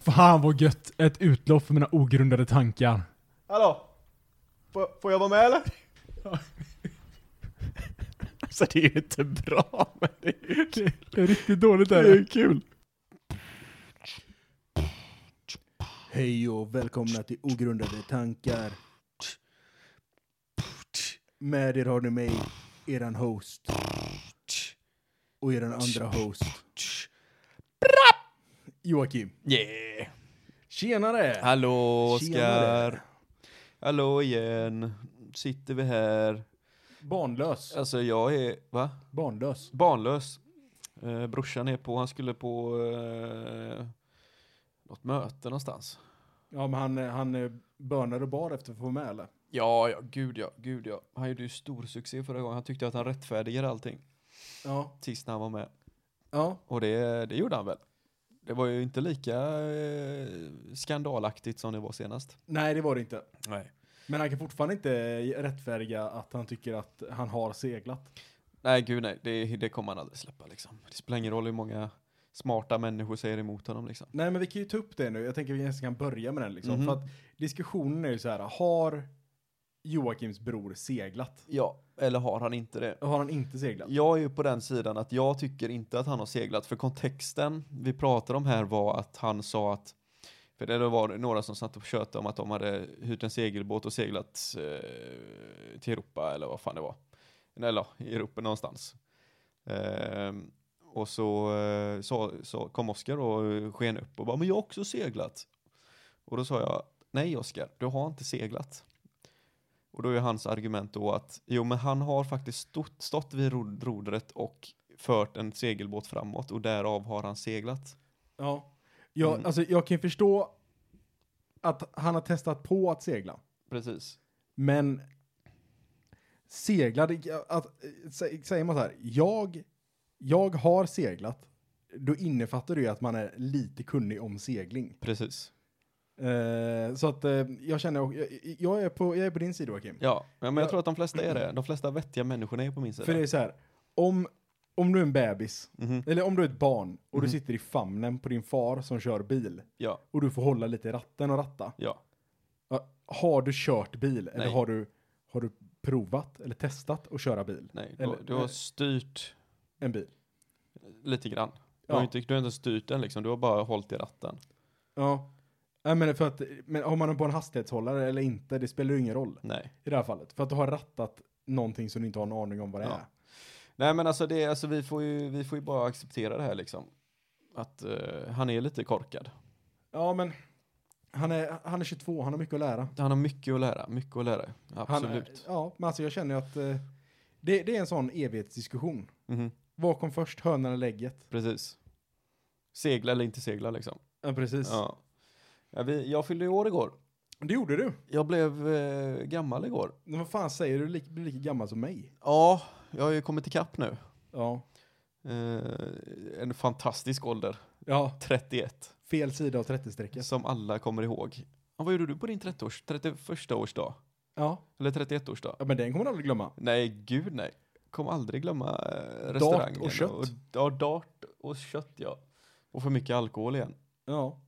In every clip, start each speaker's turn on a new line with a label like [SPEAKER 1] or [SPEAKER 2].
[SPEAKER 1] Fan vad gött! Ett utlopp för mina ogrundade tankar.
[SPEAKER 2] Hallå? Får, får jag vara med eller?
[SPEAKER 3] Alltså det är ju inte bra, men det är ju kul.
[SPEAKER 1] Det är riktigt dåligt
[SPEAKER 3] Det är ju kul.
[SPEAKER 2] Hej och välkomna till Ogrundade tankar. Med er har ni mig, eran host. Och eran andra host. Joakim.
[SPEAKER 3] Yeah!
[SPEAKER 2] Tjenare!
[SPEAKER 3] Hallå
[SPEAKER 2] Tjenare.
[SPEAKER 3] Oskar! Hallå igen! Sitter vi här.
[SPEAKER 2] Barnlös.
[SPEAKER 3] Alltså jag är, va?
[SPEAKER 2] Barnlös.
[SPEAKER 3] Barnlös. Eh, brorsan är på, han skulle på eh, något möte någonstans.
[SPEAKER 2] Ja, men han, eh, han eh, bönade och bad efter att få vara med eller?
[SPEAKER 3] Ja, ja, gud ja, gud ja. Han gjorde ju stor succé förra gången. Han tyckte att han rättfärdigade allting
[SPEAKER 2] Ja.
[SPEAKER 3] sist när han var med.
[SPEAKER 2] Ja.
[SPEAKER 3] Och det, det gjorde han väl. Det var ju inte lika eh, skandalaktigt som det var senast.
[SPEAKER 2] Nej, det var det inte.
[SPEAKER 3] Nej.
[SPEAKER 2] Men han kan fortfarande inte rättfärdiga att han tycker att han har seglat.
[SPEAKER 3] Nej, gud nej. Det, det kommer han aldrig släppa liksom. Det spelar ingen roll hur många smarta människor säger emot honom liksom.
[SPEAKER 2] Nej, men vi kan ju ta upp det nu. Jag tänker vi nästan kan börja med den liksom.
[SPEAKER 3] Mhm.
[SPEAKER 2] För att diskussionen är ju så här, har Joakims bror seglat?
[SPEAKER 3] Ja, eller har han inte det?
[SPEAKER 2] Har han inte seglat?
[SPEAKER 3] Jag är ju på den sidan att jag tycker inte att han har seglat. För kontexten vi pratar om här var att han sa att för det var det några som satt och tjötade om att de hade hyrt en segelbåt och seglat eh, till Europa eller vad fan det var. Eller ja, i Europa någonstans. Ehm, och så, eh, så, så kom Oskar och sken upp och bara, men jag har också seglat. Och då sa jag, nej Oskar, du har inte seglat. Och då är hans argument då att, jo men han har faktiskt stått, stått vid ro- rodret och fört en segelbåt framåt och därav har han seglat.
[SPEAKER 2] Ja. Jag,
[SPEAKER 3] Mm.
[SPEAKER 2] alltså, jag kan ju förstå att han har testat på att segla.
[SPEAKER 3] Precis.
[SPEAKER 2] Men segla, det- att, sä- säger man så här, jag, jag har seglat, då innefattar det ju att man är lite kunnig om segling.
[SPEAKER 3] Precis.
[SPEAKER 2] Eh, så att eh, jag känner, jag, jag, är på, jag är på din sida Joakim.
[SPEAKER 3] Ja, men jag
[SPEAKER 2] Ja.
[SPEAKER 3] tror att de flesta är det. De flesta vettiga människorna är på min sida.
[SPEAKER 2] För det är så här, om, om du är en bebis,
[SPEAKER 3] Mhm.
[SPEAKER 2] eller om du är ett barn och
[SPEAKER 3] Mhm.
[SPEAKER 2] du sitter i famnen på din far som kör bil
[SPEAKER 3] Ja,
[SPEAKER 2] och du får hålla lite i ratten och ratta.
[SPEAKER 3] ja.
[SPEAKER 2] Ja, Har du kört bil eller
[SPEAKER 3] Nej.
[SPEAKER 2] har du, har du provat eller testat att köra bil?
[SPEAKER 3] Nej, du,
[SPEAKER 2] Eller-
[SPEAKER 3] du har styrt
[SPEAKER 2] En bil?
[SPEAKER 3] lite grann. Du, har,
[SPEAKER 2] Ja.
[SPEAKER 3] inte, du har inte styrt den liksom, du har bara hållit i ratten.
[SPEAKER 2] Ja. Nej men för att, men har man den på en hastighetshållare eller inte, det spelar ju ingen roll
[SPEAKER 3] Nej.
[SPEAKER 2] i det här fallet. För att du har rattat någonting som du inte har en aning om vad det
[SPEAKER 3] Ja.
[SPEAKER 2] är.
[SPEAKER 3] Nej men alltså, det, är- alltså vi, får ju, vi får ju bara acceptera det här liksom. Att eh, han är lite korkad.
[SPEAKER 2] Ja men, han är, han är 22, han har mycket att lära.
[SPEAKER 3] Han har mycket att lära, mycket att lära.
[SPEAKER 2] Han-
[SPEAKER 3] Absolut.
[SPEAKER 2] ja, men alltså jag känner ju att eh, det, det är en sån evighetsdiskussion.
[SPEAKER 3] Mhm,
[SPEAKER 2] Vad kom först, hönan eller ägget?
[SPEAKER 3] Precis. Segla eller inte segla liksom.
[SPEAKER 2] Ja, precis.
[SPEAKER 3] Ja. Ja, vi, jag fyllde ju år igår.
[SPEAKER 2] Det gjorde du.
[SPEAKER 3] Jag blev eh, gammal igår.
[SPEAKER 2] Men vad fan säger du? Du blir lika gammal som mig.
[SPEAKER 3] Ja, jag har ju kommit ikapp nu.
[SPEAKER 2] Ja.
[SPEAKER 3] Eh, en fantastisk ålder,
[SPEAKER 2] Ja,
[SPEAKER 3] 31,
[SPEAKER 2] fel sida av 30-strecket.
[SPEAKER 3] som alla kommer ihåg. Ja, vad gjorde du på din 30-års, 31-årsdag?
[SPEAKER 2] Ja.
[SPEAKER 3] Eller 31-årsdag?
[SPEAKER 2] ja, men den kommer du aldrig glömma.
[SPEAKER 3] Nej, gud nej. Kommer aldrig glömma eh, restaurangen.
[SPEAKER 2] kött.
[SPEAKER 3] ja, dart och kött ja. Och för mycket alkohol igen.
[SPEAKER 2] Ja.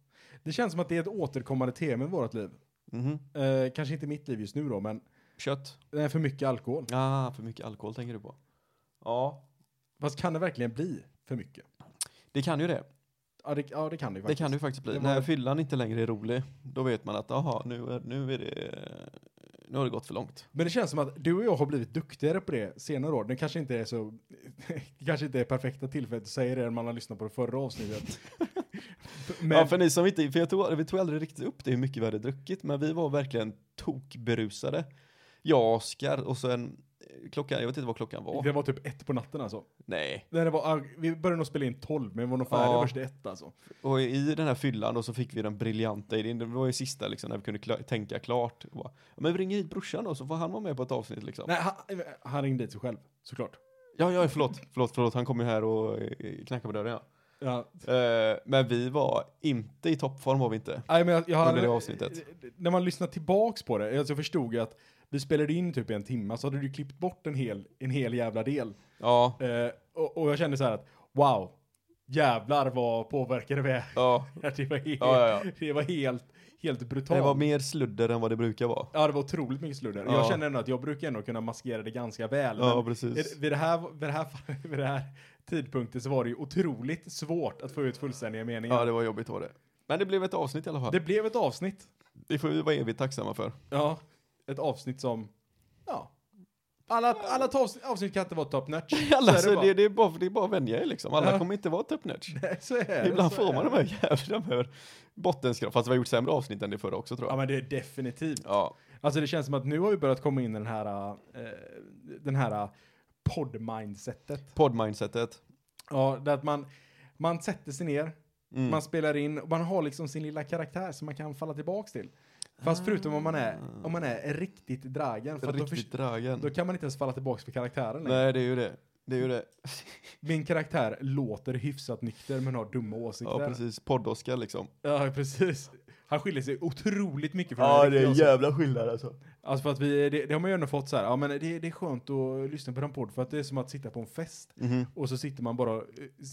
[SPEAKER 2] Det känns som att det är ett återkommande tema i vårt liv.
[SPEAKER 3] Mhm.
[SPEAKER 2] Eh, kanske inte mitt liv just nu då, men
[SPEAKER 3] Kött.
[SPEAKER 2] det är för mycket alkohol.
[SPEAKER 3] Ah, för mycket alkohol tänker du på. Ja,
[SPEAKER 2] Fast kan det verkligen bli för mycket?
[SPEAKER 3] det kan ju det.
[SPEAKER 2] Ja, det, ja, det kan det
[SPEAKER 3] Det
[SPEAKER 2] ju faktiskt.
[SPEAKER 3] kan det ju faktiskt bli.
[SPEAKER 2] Det var-
[SPEAKER 3] När fyllan inte längre är rolig, då vet man att aha, nu, är- nu, är det, nu har det gått för långt.
[SPEAKER 2] Men det känns som att du och jag har blivit duktigare på det senare år. Det kanske inte är så, det kanske inte är perfekta tillfället att säga det när man har lyssnat på det förra avsnittet. men,
[SPEAKER 3] Ja, för ni som inte, för jag tog, vi tog aldrig riktigt upp det hur mycket vi hade druckit, men vi var verkligen tokberusade. Jag och Oskar och sen eh, klockan, jag vet inte vad klockan var.
[SPEAKER 2] Det var typ ett på natten alltså.
[SPEAKER 3] Nej.
[SPEAKER 2] Nej, Det var, vi började nog spela in tolv, men vi var nog färdiga
[SPEAKER 3] Ja.
[SPEAKER 2] först i ett alltså.
[SPEAKER 3] Och i den här fyllan då så fick vi den briljanta idén, det var ju sista liksom när vi kunde kla- tänka klart. Och bara, "Ja, men vi ringer hit brorsan då så får han vara med på ett avsnitt liksom.
[SPEAKER 2] Nej, han, han ringde dit sig själv, såklart.
[SPEAKER 3] Ja, ja, förlåt, förlåt, förlåt, han kommer ju här och eh, knackar på dörren ja.
[SPEAKER 2] Ja.
[SPEAKER 3] Eh, men vi var inte i toppform var vi inte.
[SPEAKER 2] Nej, men jag, jag
[SPEAKER 3] Under det avsnittet.
[SPEAKER 2] När man lyssnar tillbaks på det, alltså jag förstod ju att vi spelade in typ i en timme, så hade du klippt bort en hel, en hel jävla del.
[SPEAKER 3] Ja,
[SPEAKER 2] Eh, och, och jag kände så här att wow, jävlar vad påverkade vi är.
[SPEAKER 3] Ja,
[SPEAKER 2] Det var helt,
[SPEAKER 3] ja, ja, ja.
[SPEAKER 2] Det var helt, helt brutalt.
[SPEAKER 3] Det var mer sludder än vad det brukar vara.
[SPEAKER 2] Ja, det var otroligt mycket sludder. Och Jag
[SPEAKER 3] Ja.
[SPEAKER 2] känner ändå att jag brukar ändå kunna maskera det ganska väl.
[SPEAKER 3] Ja,
[SPEAKER 2] men
[SPEAKER 3] precis.
[SPEAKER 2] Vid det, här, vid, det här, vid det här tidpunkten så var det ju otroligt svårt att få ut fullständiga meningar.
[SPEAKER 3] Ja,
[SPEAKER 2] det...
[SPEAKER 3] det var jobbigt var det. Men det blev ett avsnitt i alla fall.
[SPEAKER 2] blev ett avsnitt.
[SPEAKER 3] Det får vi vara evigt tacksamma för.
[SPEAKER 2] Ja, ett avsnitt som, ja. Alla, alla avsnitt, avsnitt kan inte vara top notch.
[SPEAKER 3] Alla,
[SPEAKER 2] så är
[SPEAKER 3] så
[SPEAKER 2] det
[SPEAKER 3] alltså, det, det, är bara, det är bara att vänja er liksom. Alla
[SPEAKER 2] Ja.
[SPEAKER 3] kommer inte vara top notch.
[SPEAKER 2] bara. Så är det,
[SPEAKER 3] Ibland
[SPEAKER 2] så
[SPEAKER 3] får
[SPEAKER 2] är
[SPEAKER 3] man
[SPEAKER 2] det.
[SPEAKER 3] de här jävla de här bottenskrap. Fast vi har gjort sämre avsnitt än det förra också tror
[SPEAKER 2] Ja,
[SPEAKER 3] jag.
[SPEAKER 2] men det är definitivt.
[SPEAKER 3] Ja,
[SPEAKER 2] Alltså det känns som att nu har vi börjat komma in i den här, eh, den här eh, podd-mindsetet.
[SPEAKER 3] poddmindsetet.
[SPEAKER 2] Ja, där att man, man sätter sig ner,
[SPEAKER 3] Mm.
[SPEAKER 2] man spelar in, och man har liksom sin lilla karaktär som man kan falla tillbaks till. Fast förutom om man är, om man är riktigt dragen, för att då,
[SPEAKER 3] Riktigt
[SPEAKER 2] förs-
[SPEAKER 3] dragen.
[SPEAKER 2] då kan man inte ens falla tillbaks på karaktären längre.
[SPEAKER 3] Nej, det är ju det. Det är ju det.
[SPEAKER 2] Min karaktär låter hyfsat nykter men har dumma åsikter.
[SPEAKER 3] Ja, precis. Podd-Oskar liksom.
[SPEAKER 2] Ja, precis. Han skiljer sig otroligt mycket från
[SPEAKER 3] Ja,
[SPEAKER 2] den
[SPEAKER 3] det
[SPEAKER 2] riktiga
[SPEAKER 3] är en
[SPEAKER 2] åsikten.
[SPEAKER 3] jävla skillnad alltså.
[SPEAKER 2] Alltså för att vi, det, det har man ju ändå fått så här, ja men det, det är skönt att lyssna på den podd för att det är som att sitta på en fest
[SPEAKER 3] Mm-hmm.
[SPEAKER 2] och så sitter man bara,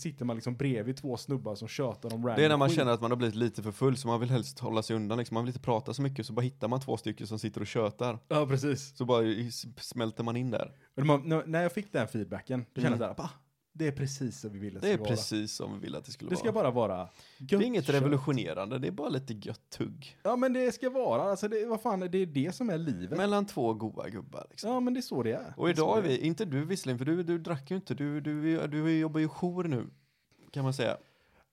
[SPEAKER 2] sitter man liksom bredvid två snubbar som tjötar om random
[SPEAKER 3] Det är när man
[SPEAKER 2] skit.
[SPEAKER 3] känner att man har blivit lite för full så man vill helst hålla sig undan liksom. Man vill inte prata så mycket så bara hittar man två stycken som sitter och tjötar.
[SPEAKER 2] Ja, precis.
[SPEAKER 3] Så bara i- s- smälter man in där.
[SPEAKER 2] Och man, när- när jag fick den feedbacken, då kände
[SPEAKER 3] Mm.
[SPEAKER 2] jag mm. såhär, "Bah, det är precis som vi ville att
[SPEAKER 3] Det är
[SPEAKER 2] vara.
[SPEAKER 3] precis som vi ville att det skulle
[SPEAKER 2] Det ska
[SPEAKER 3] vara.
[SPEAKER 2] bara vara
[SPEAKER 3] Det
[SPEAKER 2] gött
[SPEAKER 3] är inget
[SPEAKER 2] kött.
[SPEAKER 3] revolutionerande, det är bara lite gött tugg.
[SPEAKER 2] Ja, men det ska vara, alltså det, vad fan, det är det som är livet.
[SPEAKER 3] Mellan två goa gubbar liksom.
[SPEAKER 2] ja, men det är så det är.
[SPEAKER 3] Och idag är vi, inte du visserligen, för du, du drack ju inte, du, du, du jobbar ju jour nu. Kan man säga.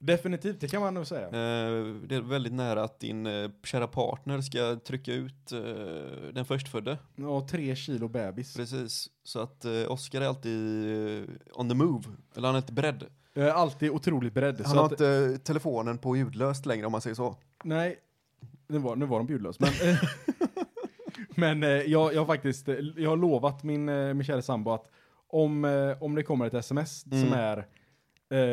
[SPEAKER 2] Definitivt, det kan man nog säga.
[SPEAKER 3] Eh, det är väldigt nära att din eh, kära partner ska trycka ut eh, den förstfödde.
[SPEAKER 2] Ja, tre kilo bebis.
[SPEAKER 3] Precis. Så att eh, Oscar är alltid eh, on the move. Eller han är inte beredd.
[SPEAKER 2] Jag är alltid otroligt beredd.
[SPEAKER 3] Han
[SPEAKER 2] Så
[SPEAKER 3] har
[SPEAKER 2] att,
[SPEAKER 3] inte eh, telefonen på ljudlöst längre om man säger så.
[SPEAKER 2] nej, nu var, nu var de bjudlös, men... eh, men eh, jag, jag har faktiskt, eh, jag har lovat min, eh, min kära sambo att om, eh, om det kommer ett sms som
[SPEAKER 3] Mm.
[SPEAKER 2] är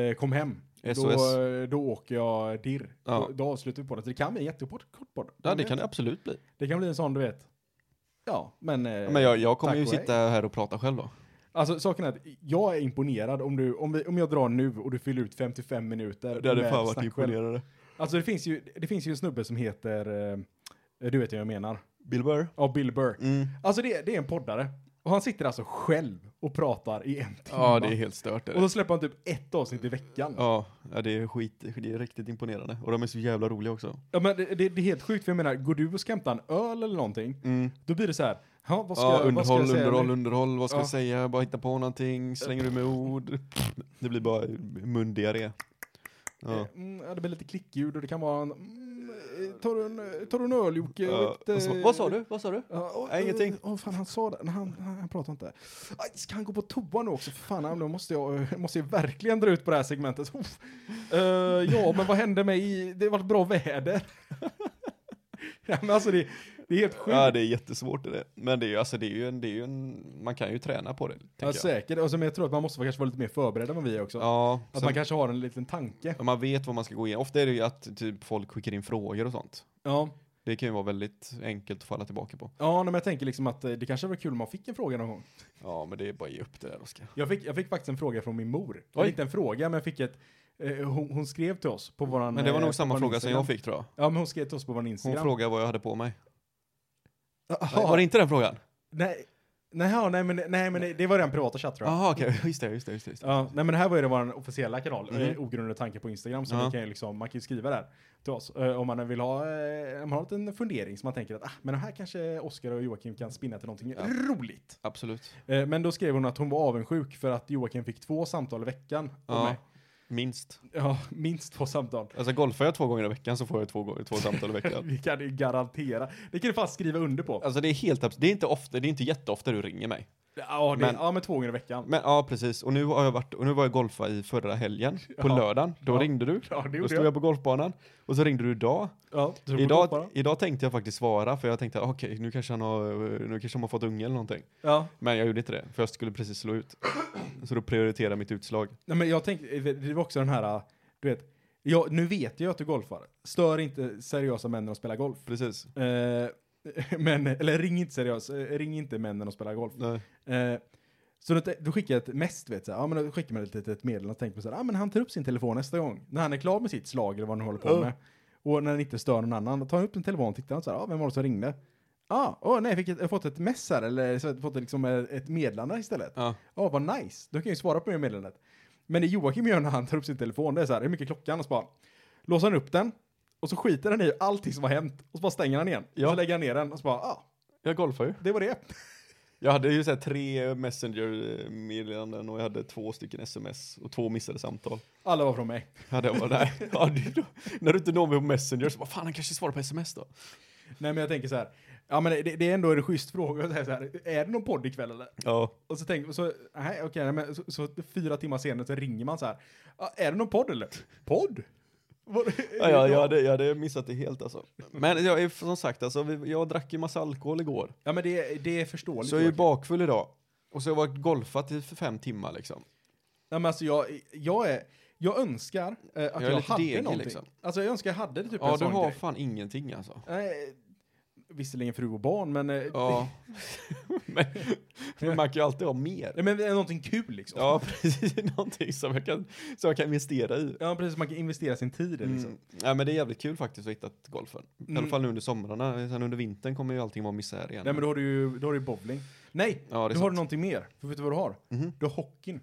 [SPEAKER 2] eh, kom hem,
[SPEAKER 3] SOS.
[SPEAKER 2] Då, eh, då åker jag dirr.
[SPEAKER 3] Ja.
[SPEAKER 2] Då, då avslutar vi på det. Så det kan bli en jättekort kort podd.
[SPEAKER 3] Ja,
[SPEAKER 2] Vem
[SPEAKER 3] det
[SPEAKER 2] vet?
[SPEAKER 3] kan det absolut bli.
[SPEAKER 2] det kan bli en sån, du vet. Ja, men... eh,
[SPEAKER 3] Men jag, jag kommer
[SPEAKER 2] tack
[SPEAKER 3] ju
[SPEAKER 2] och hej.
[SPEAKER 3] sitta här och prata själv då.
[SPEAKER 2] Alltså, saken är att jag är imponerad om, du, om, vi, om jag drar nu och du fyller ut 55 minuter.
[SPEAKER 3] Det hade
[SPEAKER 2] med
[SPEAKER 3] fan varit
[SPEAKER 2] snack själv.
[SPEAKER 3] imponerande.
[SPEAKER 2] Alltså, det finns, ju, det finns ju en snubbe som heter... eh, Du vet vad jag menar.
[SPEAKER 3] Bill Burr.
[SPEAKER 2] Ja, Bill Burr.
[SPEAKER 3] Mm.
[SPEAKER 2] Alltså, det, det är en poddare. Och han sitter alltså själv och pratar i en timme.
[SPEAKER 3] Ja, det är helt stört. Är
[SPEAKER 2] Och
[SPEAKER 3] det.
[SPEAKER 2] så släpper han typ ett avsnitt i veckan.
[SPEAKER 3] Ja, ja, det är skit. Det är riktigt imponerande. Och de är så jävla roliga också.
[SPEAKER 2] Ja, men det, det, det är helt sjukt, för jag menar, går du och ska hämta en öl eller någonting,
[SPEAKER 3] Mm.
[SPEAKER 2] Då blir det så här, ja, vad ska,
[SPEAKER 3] Ja,
[SPEAKER 2] vad ska
[SPEAKER 3] underhåll,
[SPEAKER 2] jag säga
[SPEAKER 3] underhåll,
[SPEAKER 2] nu?
[SPEAKER 3] underhåll. Vad ska
[SPEAKER 2] Ja.
[SPEAKER 3] jag säga? Bara hitta på någonting. Slänger du med ord? Det blir bara mundiarré. Ja.
[SPEAKER 2] Mm, ja, det blir lite klickljud och det kan vara en, mm, eh, tar du en, eh, tar du en öl Jocke?
[SPEAKER 3] Ja.
[SPEAKER 2] Lite-
[SPEAKER 3] Och så bara, Vad sa du? Vad sa du?
[SPEAKER 2] Ja, och- eh,
[SPEAKER 3] Nej, ingenting.
[SPEAKER 2] Åh fan, han sa det. Nej, Han, han, han pratar inte. Aj, ska han gå på toa nu också? För fan, nu måste jag, eh, måste jag verkligen dra ut på det här segmentet. Uff. Eh, ja, men vad hände med i... Det har varit bra väder. ja, men alltså det, det är helt sjukt.
[SPEAKER 3] Ja, det är jättesvårt det. där. Men det är ju, alltså det är ju en, det är ju en, man kan ju träna på det. tänker
[SPEAKER 2] ja, säkert. Och så, men jag tror att man måste vara- kanske vara lite mer förberedd än vad vi är också.
[SPEAKER 3] jag. Ja,
[SPEAKER 2] att
[SPEAKER 3] sen,
[SPEAKER 2] man
[SPEAKER 3] man,
[SPEAKER 2] kanske har en liten tanke.
[SPEAKER 3] man vet vad man ska gå igenom. Ofta är det ju att typ folk skickar in frågor och sånt.
[SPEAKER 2] Ja.
[SPEAKER 3] Det kan ju vara väldigt enkelt att falla tillbaka på.
[SPEAKER 2] Ja, nej, men jag tänker liksom att eh, det kanske var kul om man fick en fråga någon gång.
[SPEAKER 3] Ja, men det är bara att ge upp det där, Oskar.
[SPEAKER 2] Jag fick, jag fick faktiskt en fråga från min mor.
[SPEAKER 3] Oj.
[SPEAKER 2] Oj. Inte en fråga, men jag fick ett... Eh, hon, hon skrev till oss på våran...
[SPEAKER 3] Men det var
[SPEAKER 2] eh,
[SPEAKER 3] nog
[SPEAKER 2] på
[SPEAKER 3] samma
[SPEAKER 2] våran
[SPEAKER 3] fråga som jag
[SPEAKER 2] Instagram.
[SPEAKER 3] fick tror jag.
[SPEAKER 2] Ja, men hon skrev till oss på vår
[SPEAKER 3] Hon
[SPEAKER 2] Instagram.
[SPEAKER 3] frågade vad jag hade på mig. Nej,
[SPEAKER 2] Jaha,
[SPEAKER 3] var det inte den frågan?
[SPEAKER 2] nej, nej, ja, nej, men, nej, men det, det var den privata chatt tror jag.
[SPEAKER 3] Jaha, okej. Just det, just det, just det. Just det.
[SPEAKER 2] Ja, nej men det här var ju vår officiella kanal,
[SPEAKER 3] Mhm.
[SPEAKER 2] mm. ogrundade tanke på Instagram, så
[SPEAKER 3] Ja.
[SPEAKER 2] vi kan ju liksom, man kan ju skriva där till oss. eh, om man vill ha, eh, om man har en liten fundering som man tänker att, ah, men det här kanske Oskar och Joakim kan spinna till någonting
[SPEAKER 3] Ja.
[SPEAKER 2] roligt.
[SPEAKER 3] Absolut.
[SPEAKER 2] Eh, Men då skrev hon att hon var avundsjuk för att Joakim fick två samtal i veckan. Ja.
[SPEAKER 3] Ja,
[SPEAKER 2] Mig.
[SPEAKER 3] minst.
[SPEAKER 2] ja, minst två samtal.
[SPEAKER 3] Alltså golfar jag två gånger i veckan så får jag två, gånger, två samtal i veckan.
[SPEAKER 2] Vi kan ju garantera. Det kan du fast skriva under på.
[SPEAKER 3] Alltså det är helt abs- det är inte ofta, det är inte jätteofta du ringer mig.
[SPEAKER 2] Ja, det,
[SPEAKER 3] Men-
[SPEAKER 2] ja men två gånger i veckan.
[SPEAKER 3] Men ja, precis. Och nu har jag varit, och nu var jag golfa i förra helgen, på
[SPEAKER 2] Ja.
[SPEAKER 3] lördagen. Då
[SPEAKER 2] Ja.
[SPEAKER 3] ringde du.
[SPEAKER 2] Ja, det
[SPEAKER 3] Då
[SPEAKER 2] gjorde
[SPEAKER 3] stod
[SPEAKER 2] jag.
[SPEAKER 3] jag på golfbanan. Och så ringde du idag.
[SPEAKER 2] Ja, så på
[SPEAKER 3] Idag,
[SPEAKER 2] topparna.
[SPEAKER 3] idag tänkte jag faktiskt svara, för jag tänkte okej, nu kanske han har, nu kanske de har fått unge eller någonting.
[SPEAKER 2] Ja.
[SPEAKER 3] Men jag gjorde inte det, för jag skulle precis slå ut. Så då prioriterade jag mitt utslag.
[SPEAKER 2] Nej, men jag tänkte, det var också den här, du vet, jag, nu vet jag att du golfar. Stör inte seriösa männen att spela golf.
[SPEAKER 3] Precis.
[SPEAKER 2] Eh, men, eller ring inte seriös, eh, ring inte männen att spela golf.
[SPEAKER 3] Nej.
[SPEAKER 2] Eh, Så då, då skickar jag ett mest, vet så här, ja, men då skickar man ett litet meddelande och tänker på så här, ja men han tar upp sin telefon nästa gång. När han är klar med sitt slag eller vad han håller på
[SPEAKER 3] Ja.
[SPEAKER 2] med. Och när han inte stör någon annan, då tar han upp en telefon och tittar och så här, ja vem var det som ringde? Ja, åh nej, jag fick ett, jag har fått ett mess här, eller så har jag fått liksom ett ett meddelande istället.
[SPEAKER 3] Ja.
[SPEAKER 2] Ja, vad nice. Då kan jag ju svara på det meddelandet. Men det Joakim gör när han tar upp sin telefon, det är så här, hur mycket är klockan? Och så bara låser han upp den. Och så skiter han i allting som har hänt. Och så bara stänger han igen.
[SPEAKER 3] Ja.
[SPEAKER 2] Så lägger han ner den och så bara, ja,
[SPEAKER 3] Jag golfar ju.
[SPEAKER 2] det var det.
[SPEAKER 3] Jag hade ju så här tre Messenger-meddelanden och jag hade två stycken sms och två missade samtal.
[SPEAKER 2] Alla var från mig.
[SPEAKER 3] Ja, det var där. Ja, det, när du inte når mig på Messenger så bara, fan han kanske svarar på sms då.
[SPEAKER 2] Nej, men jag tänker så här, ja men det, det är ändå en schysst fråga att säga så här, är det någon podd ikväll eller?
[SPEAKER 3] Ja.
[SPEAKER 2] Och så tänker så, nej okej, nej, men så, så fyra timmar senare så ringer man så här, ja, är det någon podd eller? Podd? Var det-
[SPEAKER 3] Ja, ja, jag, hade, jag hade missat det helt alltså. Men jag är som sagt, alltså, vi- jag drack ju massa alkohol igår.
[SPEAKER 2] ja men det, det är förståeligt.
[SPEAKER 3] Så jag är ju
[SPEAKER 2] Joakim.
[SPEAKER 3] bakfull idag. Och så har jag varit golfat i för fem timmar liksom.
[SPEAKER 2] Nej men alltså jag, jag är, jag önskar eh,
[SPEAKER 3] är
[SPEAKER 2] att jag,
[SPEAKER 3] lite
[SPEAKER 2] hade
[SPEAKER 3] degig,
[SPEAKER 2] någonting.
[SPEAKER 3] liksom.
[SPEAKER 2] Alltså jag önskar jag hade det typ
[SPEAKER 3] Ja,
[SPEAKER 2] en
[SPEAKER 3] du
[SPEAKER 2] sån
[SPEAKER 3] har
[SPEAKER 2] grej.
[SPEAKER 3] fan ingenting alltså.
[SPEAKER 2] Nej, visserligen fru och barn men, eh,
[SPEAKER 3] Ja. men, men man kan ju alltid ha mer.
[SPEAKER 2] nej, men det är någonting kul liksom.
[SPEAKER 3] Ja, precis. Någonting som jag kan, som jag kan investera i.
[SPEAKER 2] Ja, precis, man kan investera sin tid i det, liksom.
[SPEAKER 3] Mm. Ja, men det är jävligt kul faktiskt att hitta ett golfen. I alla
[SPEAKER 2] Mm.
[SPEAKER 3] fall nu under somrarna. Sen under vintern kommer ju allting vara misär igen.
[SPEAKER 2] Nej men då har du ju, då har du ju bowling. Nej,
[SPEAKER 3] ja, det
[SPEAKER 2] då
[SPEAKER 3] är
[SPEAKER 2] har du
[SPEAKER 3] sant.
[SPEAKER 2] någonting mer. För vet du vad du har?
[SPEAKER 3] Mhm.
[SPEAKER 2] Du har hockeyn.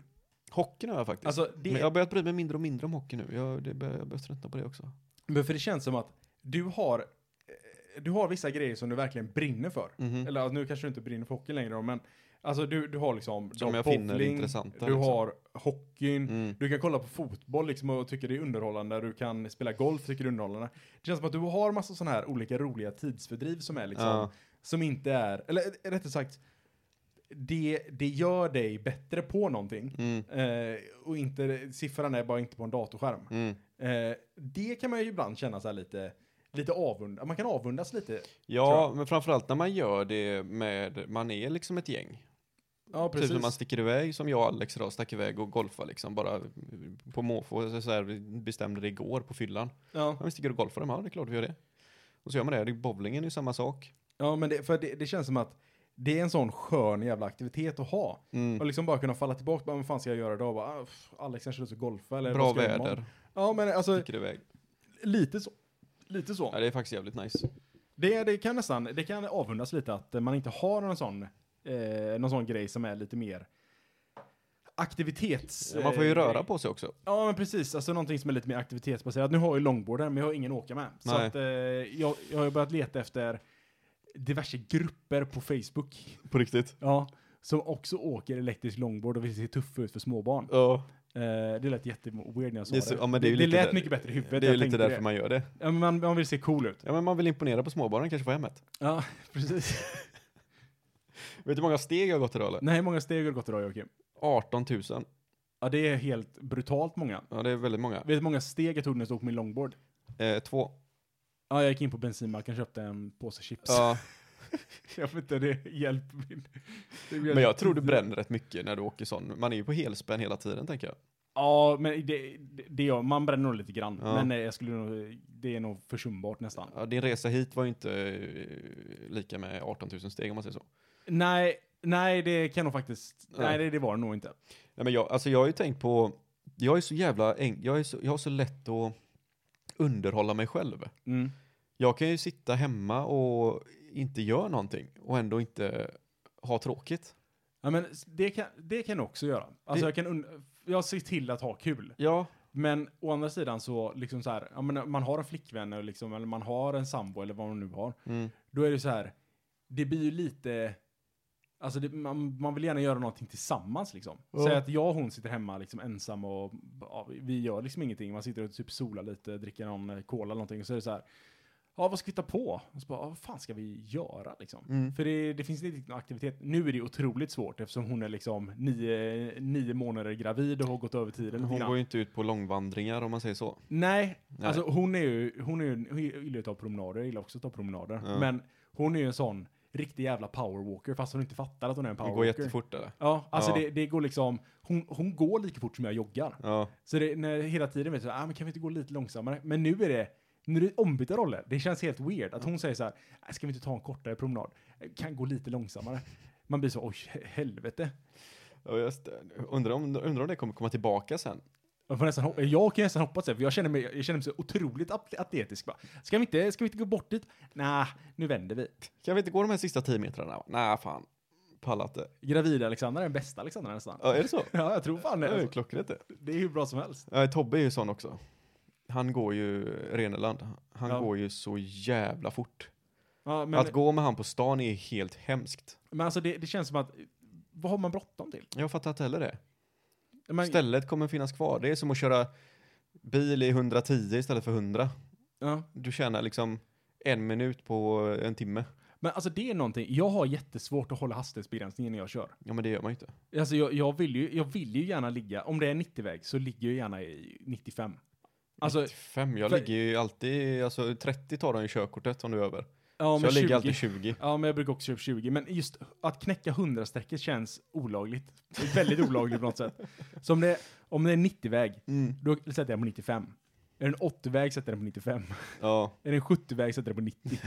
[SPEAKER 3] Hockeyn har jag faktiskt.
[SPEAKER 2] Alltså det,
[SPEAKER 3] Men jag har börjat bry mig mindre och mindre om hockey nu. Jag, det börjar, jag börjar tröttna på det också.
[SPEAKER 2] men för det känns som att du har, eh, du har vissa grejer som du verkligen brinner för.
[SPEAKER 3] Mhm.
[SPEAKER 2] Eller alltså, nu kanske du inte brinner för hockey längre då, men alltså du, du har liksom
[SPEAKER 3] Som
[SPEAKER 2] du har
[SPEAKER 3] jag finner intressanta,
[SPEAKER 2] Du
[SPEAKER 3] liksom.
[SPEAKER 2] har hockeyn,
[SPEAKER 3] Mm.
[SPEAKER 2] du kan kolla på fotboll liksom och tycka det är underhållande, du kan spela golf tycker det är underhållande. Det känns som att du har massa sådana här olika roliga tidsfördriv som är liksom,
[SPEAKER 3] Ja.
[SPEAKER 2] som inte är, eller eh, rättare sagt, det, det gör dig bättre på någonting.
[SPEAKER 3] Mm.
[SPEAKER 2] Eh, och inte, siffran är bara inte på en datorskärm.
[SPEAKER 3] Mm.
[SPEAKER 2] Eh, det kan man ju ibland känna så här lite, lite avund, man kan avundas lite. Tror
[SPEAKER 3] Ja, men framförallt när man gör det med, man är liksom ett gäng.
[SPEAKER 2] Ja,
[SPEAKER 3] Precis. Typ när man sticker iväg, som jag och Alex idag, stack iväg och golfade liksom bara på måfå. Så så här, vi bestämde det igår på fyllan.
[SPEAKER 2] ja.
[SPEAKER 3] Ja, vi sticker och golfar, ja det är klart vi gör det. Och så gör man det, det bowlingen är ju samma sak.
[SPEAKER 2] Ja, men det, för det, det känns som att det är en sån skön jävla aktivitet att ha.
[SPEAKER 3] Mm.
[SPEAKER 2] Och liksom bara kunna falla tillbaka, bara, vad fan ska jag göra idag? Bara, ah, pff, Alex kanske lust att golfa eller
[SPEAKER 3] Bra
[SPEAKER 2] vad ska jag göra
[SPEAKER 3] väder,
[SPEAKER 2] imorgon? Ja, men alltså
[SPEAKER 3] sticker iväg.
[SPEAKER 2] lite så. Lite
[SPEAKER 3] Ja,
[SPEAKER 2] så.
[SPEAKER 3] det är faktiskt jävligt nice.
[SPEAKER 2] Det, det kan nästan, det kan avundas lite att eh, man inte har någon sån, eh, någon sån grej som är lite mer aktivitets...
[SPEAKER 3] Ja, man får ju
[SPEAKER 2] eh,
[SPEAKER 3] röra
[SPEAKER 2] grej.
[SPEAKER 3] på sig också.
[SPEAKER 2] Ja, men precis. Alltså någonting som är lite mer aktivitetsbaserat. Nu har jag ju longboarden, men jag har ingen att åka med. Så
[SPEAKER 3] Nej.
[SPEAKER 2] att, eh, jag, jag har ju börjat leta efter diverse grupper på Facebook.
[SPEAKER 3] På riktigt?
[SPEAKER 2] Ja, som också åker elektrisk långbord och vill se tuffa ut för småbarn.
[SPEAKER 3] Ja,
[SPEAKER 2] Eh, det lät jätteweird när jag sa
[SPEAKER 3] det är,
[SPEAKER 2] det.
[SPEAKER 3] så, ja, men det, är ju lite
[SPEAKER 2] lät
[SPEAKER 3] där-
[SPEAKER 2] mycket bättre i huvudet.
[SPEAKER 3] Det är ju
[SPEAKER 2] jag
[SPEAKER 3] lite
[SPEAKER 2] tänkte
[SPEAKER 3] därför
[SPEAKER 2] det.
[SPEAKER 3] man gör det.
[SPEAKER 2] Ja, men man, man vill se cool ut.
[SPEAKER 3] Ja, men man vill imponera på småbarnen kanske på hemmet.
[SPEAKER 2] Ja, precis.
[SPEAKER 3] Vet du hur många steg jag har gått idag eller?
[SPEAKER 2] Nej, hur många steg har du gått idag, Joakim?
[SPEAKER 3] 18 000.
[SPEAKER 2] Ja, det är helt brutalt många.
[SPEAKER 3] Ja, det är väldigt många.
[SPEAKER 2] Vet du hur många steg jag tog när jag stod på min longboard?
[SPEAKER 3] Eh, två.
[SPEAKER 2] Ja, jag gick in på bensinmacken och köpte en påse chips.
[SPEAKER 3] Ja,
[SPEAKER 2] jag vet inte, det hjälper min... det blir-
[SPEAKER 3] men jag tror du bränner rätt mycket när du åker sån. Man är ju på helspänn hela tiden tänker jag.
[SPEAKER 2] Ja, men det, det, det gör, man bränner nog lite grann.
[SPEAKER 3] Ja.
[SPEAKER 2] Men eh, jag skulle nog, det är nog försumbart nästan.
[SPEAKER 3] Ja, din resa hit var ju inte eh, lika med 18 000 steg om man säger så.
[SPEAKER 2] Nej, nej det kan nog faktiskt,
[SPEAKER 3] Nej.
[SPEAKER 2] nej, det, det var det nog inte.
[SPEAKER 3] Nej, men jag, alltså jag har ju tänkt på, jag är så jävla, en, jag, är så, jag har så lätt att underhålla mig själv.
[SPEAKER 2] Mm.
[SPEAKER 3] Jag kan ju sitta hemma och inte göra någonting och ändå inte ha tråkigt.
[SPEAKER 2] Ja, men s- det kan, det kan jag också göra. Alltså
[SPEAKER 3] Det-
[SPEAKER 2] jag kan, und- jag ser till att ha kul.
[SPEAKER 3] Ja,
[SPEAKER 2] Men å andra sidan så, liksom så här, ja, men man har en flickvän eller, liksom, eller man har en sambo eller vad man nu har.
[SPEAKER 3] mm.
[SPEAKER 2] Då är det så här, det blir ju lite, alltså det, man, man vill gärna göra någonting tillsammans liksom.
[SPEAKER 3] Ja.
[SPEAKER 2] Säg att jag och hon sitter hemma liksom ensam och ja, vi gör liksom ingenting. Man sitter och typ solar lite, dricker någon eh, cola eller någonting och så är det så här, ja vad ska vi ta på? Och så bara, ja, vad fan ska vi göra liksom?
[SPEAKER 3] Mm.
[SPEAKER 2] För det, det finns inte riktigt någon aktivitet. Nu är det otroligt svårt eftersom hon är liksom nio, nio månader gravid och har gått över tiden lite
[SPEAKER 3] hon
[SPEAKER 2] grann.
[SPEAKER 3] går ju inte ut på långvandringar om man säger så.
[SPEAKER 2] Nej,
[SPEAKER 3] Nej.
[SPEAKER 2] alltså hon är ju, hon är ju, hon gillar ju att ta promenader, jag gillar också att ta promenader.
[SPEAKER 3] Ja.
[SPEAKER 2] Men hon är ju en sån riktig jävla powerwalker fast hon inte fattar att hon är en
[SPEAKER 3] Det
[SPEAKER 2] powerwalker.
[SPEAKER 3] går jättefort eller?
[SPEAKER 2] Ja, alltså
[SPEAKER 3] Ja.
[SPEAKER 2] Det, det går liksom, hon, hon går lika fort som jag joggar.
[SPEAKER 3] Ja,
[SPEAKER 2] Så det, när, hela tiden vet jag, ah, men kan vi inte gå lite långsammare? Men nu är det, nu är det ombytta roller. Det känns helt weird att hon säger så här, "Ah, ska vi inte ta en kortare promenad? Kan gå lite långsammare. Man blir så, oj helvete.
[SPEAKER 3] Ja, just det. Undrar om, undrar om det kommer komma tillbaka sen.
[SPEAKER 2] Jag, får nästan hoppa, jag kan nästan hoppas det, för jag känner mig, jag känner mig så otroligt at- atletisk. Va? Ska, vi inte, ska vi inte gå bort dit? Nej, nu vänder vi.
[SPEAKER 3] Kan vi inte gå de här sista tio metrarna? Nej, fan. Pallat det.
[SPEAKER 2] Gravida Alexander är den bästa Alexander nästan.
[SPEAKER 3] Ja, är det så?
[SPEAKER 2] Ja, jag tror fan
[SPEAKER 3] Det
[SPEAKER 2] det.
[SPEAKER 3] är ju
[SPEAKER 2] Alltså.
[SPEAKER 3] klockrent det.
[SPEAKER 2] Det är hur bra som helst.
[SPEAKER 3] Nej, Tobbe är ju sån också. Han går ju, Reneland, han
[SPEAKER 2] Ja.
[SPEAKER 3] går ju så jävla fort.
[SPEAKER 2] Ja, men,
[SPEAKER 3] Att gå med han på stan är helt hemskt.
[SPEAKER 2] men alltså det, det känns som att, vad har man bråttom till?
[SPEAKER 3] Jag fattar inte heller det.
[SPEAKER 2] Men,
[SPEAKER 3] Stället kommer finnas kvar. Det är som att köra bil i 110 istället för 100.
[SPEAKER 2] ja.
[SPEAKER 3] Du tjänar liksom en minut på en timme.
[SPEAKER 2] men alltså det är någonting, jag har jättesvårt att hålla hastighetsbegränsningen när jag kör.
[SPEAKER 3] Ja, men det gör man ju inte.
[SPEAKER 2] Alltså jag, jag, vill ju, jag vill ju gärna ligga, om det är 90-väg så ligger jag gärna i 95. Alltså,
[SPEAKER 3] 95, jag
[SPEAKER 2] för-
[SPEAKER 3] ligger ju alltid, alltså 30 tar de ju körkortet om du är över.
[SPEAKER 2] ja,
[SPEAKER 3] så
[SPEAKER 2] men
[SPEAKER 3] jag
[SPEAKER 2] 20,
[SPEAKER 3] ligger alltid 20.
[SPEAKER 2] Ja, men jag brukar också köra 20. Men just att knäcka 100-strecket känns olagligt. Det är väldigt olagligt på något sätt. Så om det, är- om det är 90-väg,
[SPEAKER 3] Mm.
[SPEAKER 2] då sätter jag den på 95. Är det en 80-väg sätter jag den på 95.
[SPEAKER 3] Ja,
[SPEAKER 2] Är det en 70-väg sätter jag den på 90.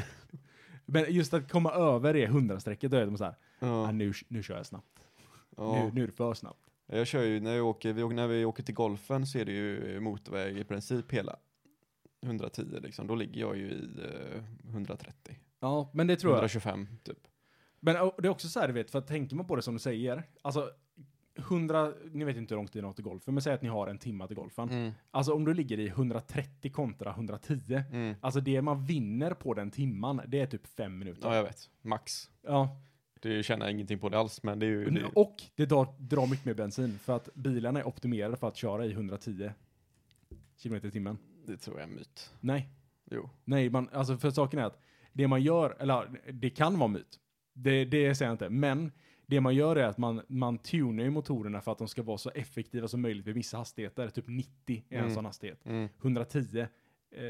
[SPEAKER 2] Men just att komma över det 100-strecket, då är det så här, ah,
[SPEAKER 3] ja,
[SPEAKER 2] nu, nu kör jag snabbt.
[SPEAKER 3] ja.
[SPEAKER 2] Nu, nu är det för snabbt.
[SPEAKER 3] Jag kör ju, när, jag åker, vi, åker- när vi åker till golfen så är det ju motorväg i princip hela 110 liksom. Då ligger jag ju i eh, 130,
[SPEAKER 2] Ja, men det tror jag.
[SPEAKER 3] 125 typ.
[SPEAKER 2] Men och, det är också så här, du vet, för att tänker man på det som du säger, alltså 100, ni vet inte hur långt det är till golfen, men säg att ni har en timme till golfen.
[SPEAKER 3] Mm.
[SPEAKER 2] Alltså om du ligger i 130 kontra 110,
[SPEAKER 3] Mm.
[SPEAKER 2] alltså det man vinner på den timman, det är typ fem minuter.
[SPEAKER 3] Ja, jag vet. Max.
[SPEAKER 2] Ja.
[SPEAKER 3] Du tjänar ingenting på det alls, men det är ju... Det,
[SPEAKER 2] Och det drar, drar mycket mer bensin, för att bilarna är optimerade för att köra i 110 kilometer i timmen.
[SPEAKER 3] det tror jag är en myt.
[SPEAKER 2] Nej,
[SPEAKER 3] Jo.
[SPEAKER 2] nej, man, alltså för saken är att det man gör, eller det kan vara myt, det, det säger jag inte, men det man gör är att man, man tunar ju motorerna för att de ska vara så effektiva som möjligt vid vissa hastigheter, typ 90 är en
[SPEAKER 3] Mm.
[SPEAKER 2] sån hastighet.
[SPEAKER 3] Mm.
[SPEAKER 2] 110, eh,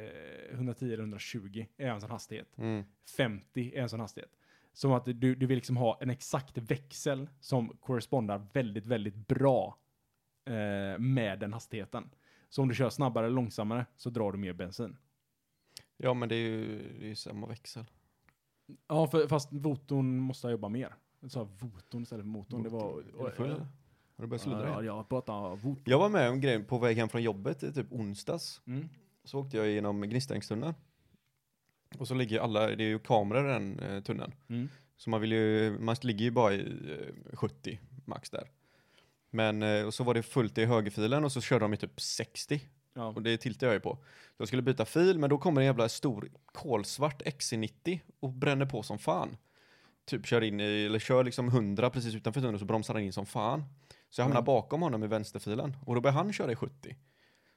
[SPEAKER 2] 110 eller 120 är en sån hastighet.
[SPEAKER 3] Mm.
[SPEAKER 2] 50 är en sån hastighet. Som att du, du vill liksom ha en exakt växel som korrespondar väldigt, väldigt bra eh, med den hastigheten. Så om du kör snabbare eller långsammare så drar du mer bensin.
[SPEAKER 3] Ja, men det är ju det är ju samma växel.
[SPEAKER 2] Ja, för, fast votorn måste jobba mer. Jag sa votorn istället för motorn. Det var...
[SPEAKER 3] Är du full eller? Har du börjat sluddra
[SPEAKER 2] ja,
[SPEAKER 3] igen?
[SPEAKER 2] jag pratar vot.
[SPEAKER 3] Jag var med om grejen på väg hem från jobbet i typ onsdags.
[SPEAKER 2] Mm.
[SPEAKER 3] Så åkte jag genom Gnistängstunneln. Och så ligger ju alla, det är ju kameror i den eh, tunneln.
[SPEAKER 2] Mm.
[SPEAKER 3] Så man vill ju, man ligger ju bara i eh, 70 max där. Men, eh, och så var det fullt i högerfilen och så körde de i typ 60.
[SPEAKER 2] Ja.
[SPEAKER 3] Och det tiltade jag ju på. Så jag skulle byta fil, men då kommer en jävla stor kolsvart XC90 och bränner på som fan. Typ kör in i, eller kör liksom 100 precis utanför tunneln och så bromsar han in som fan. Så jag hamnar
[SPEAKER 2] Mm.
[SPEAKER 3] bakom honom i vänsterfilen och då börjar han köra i 70.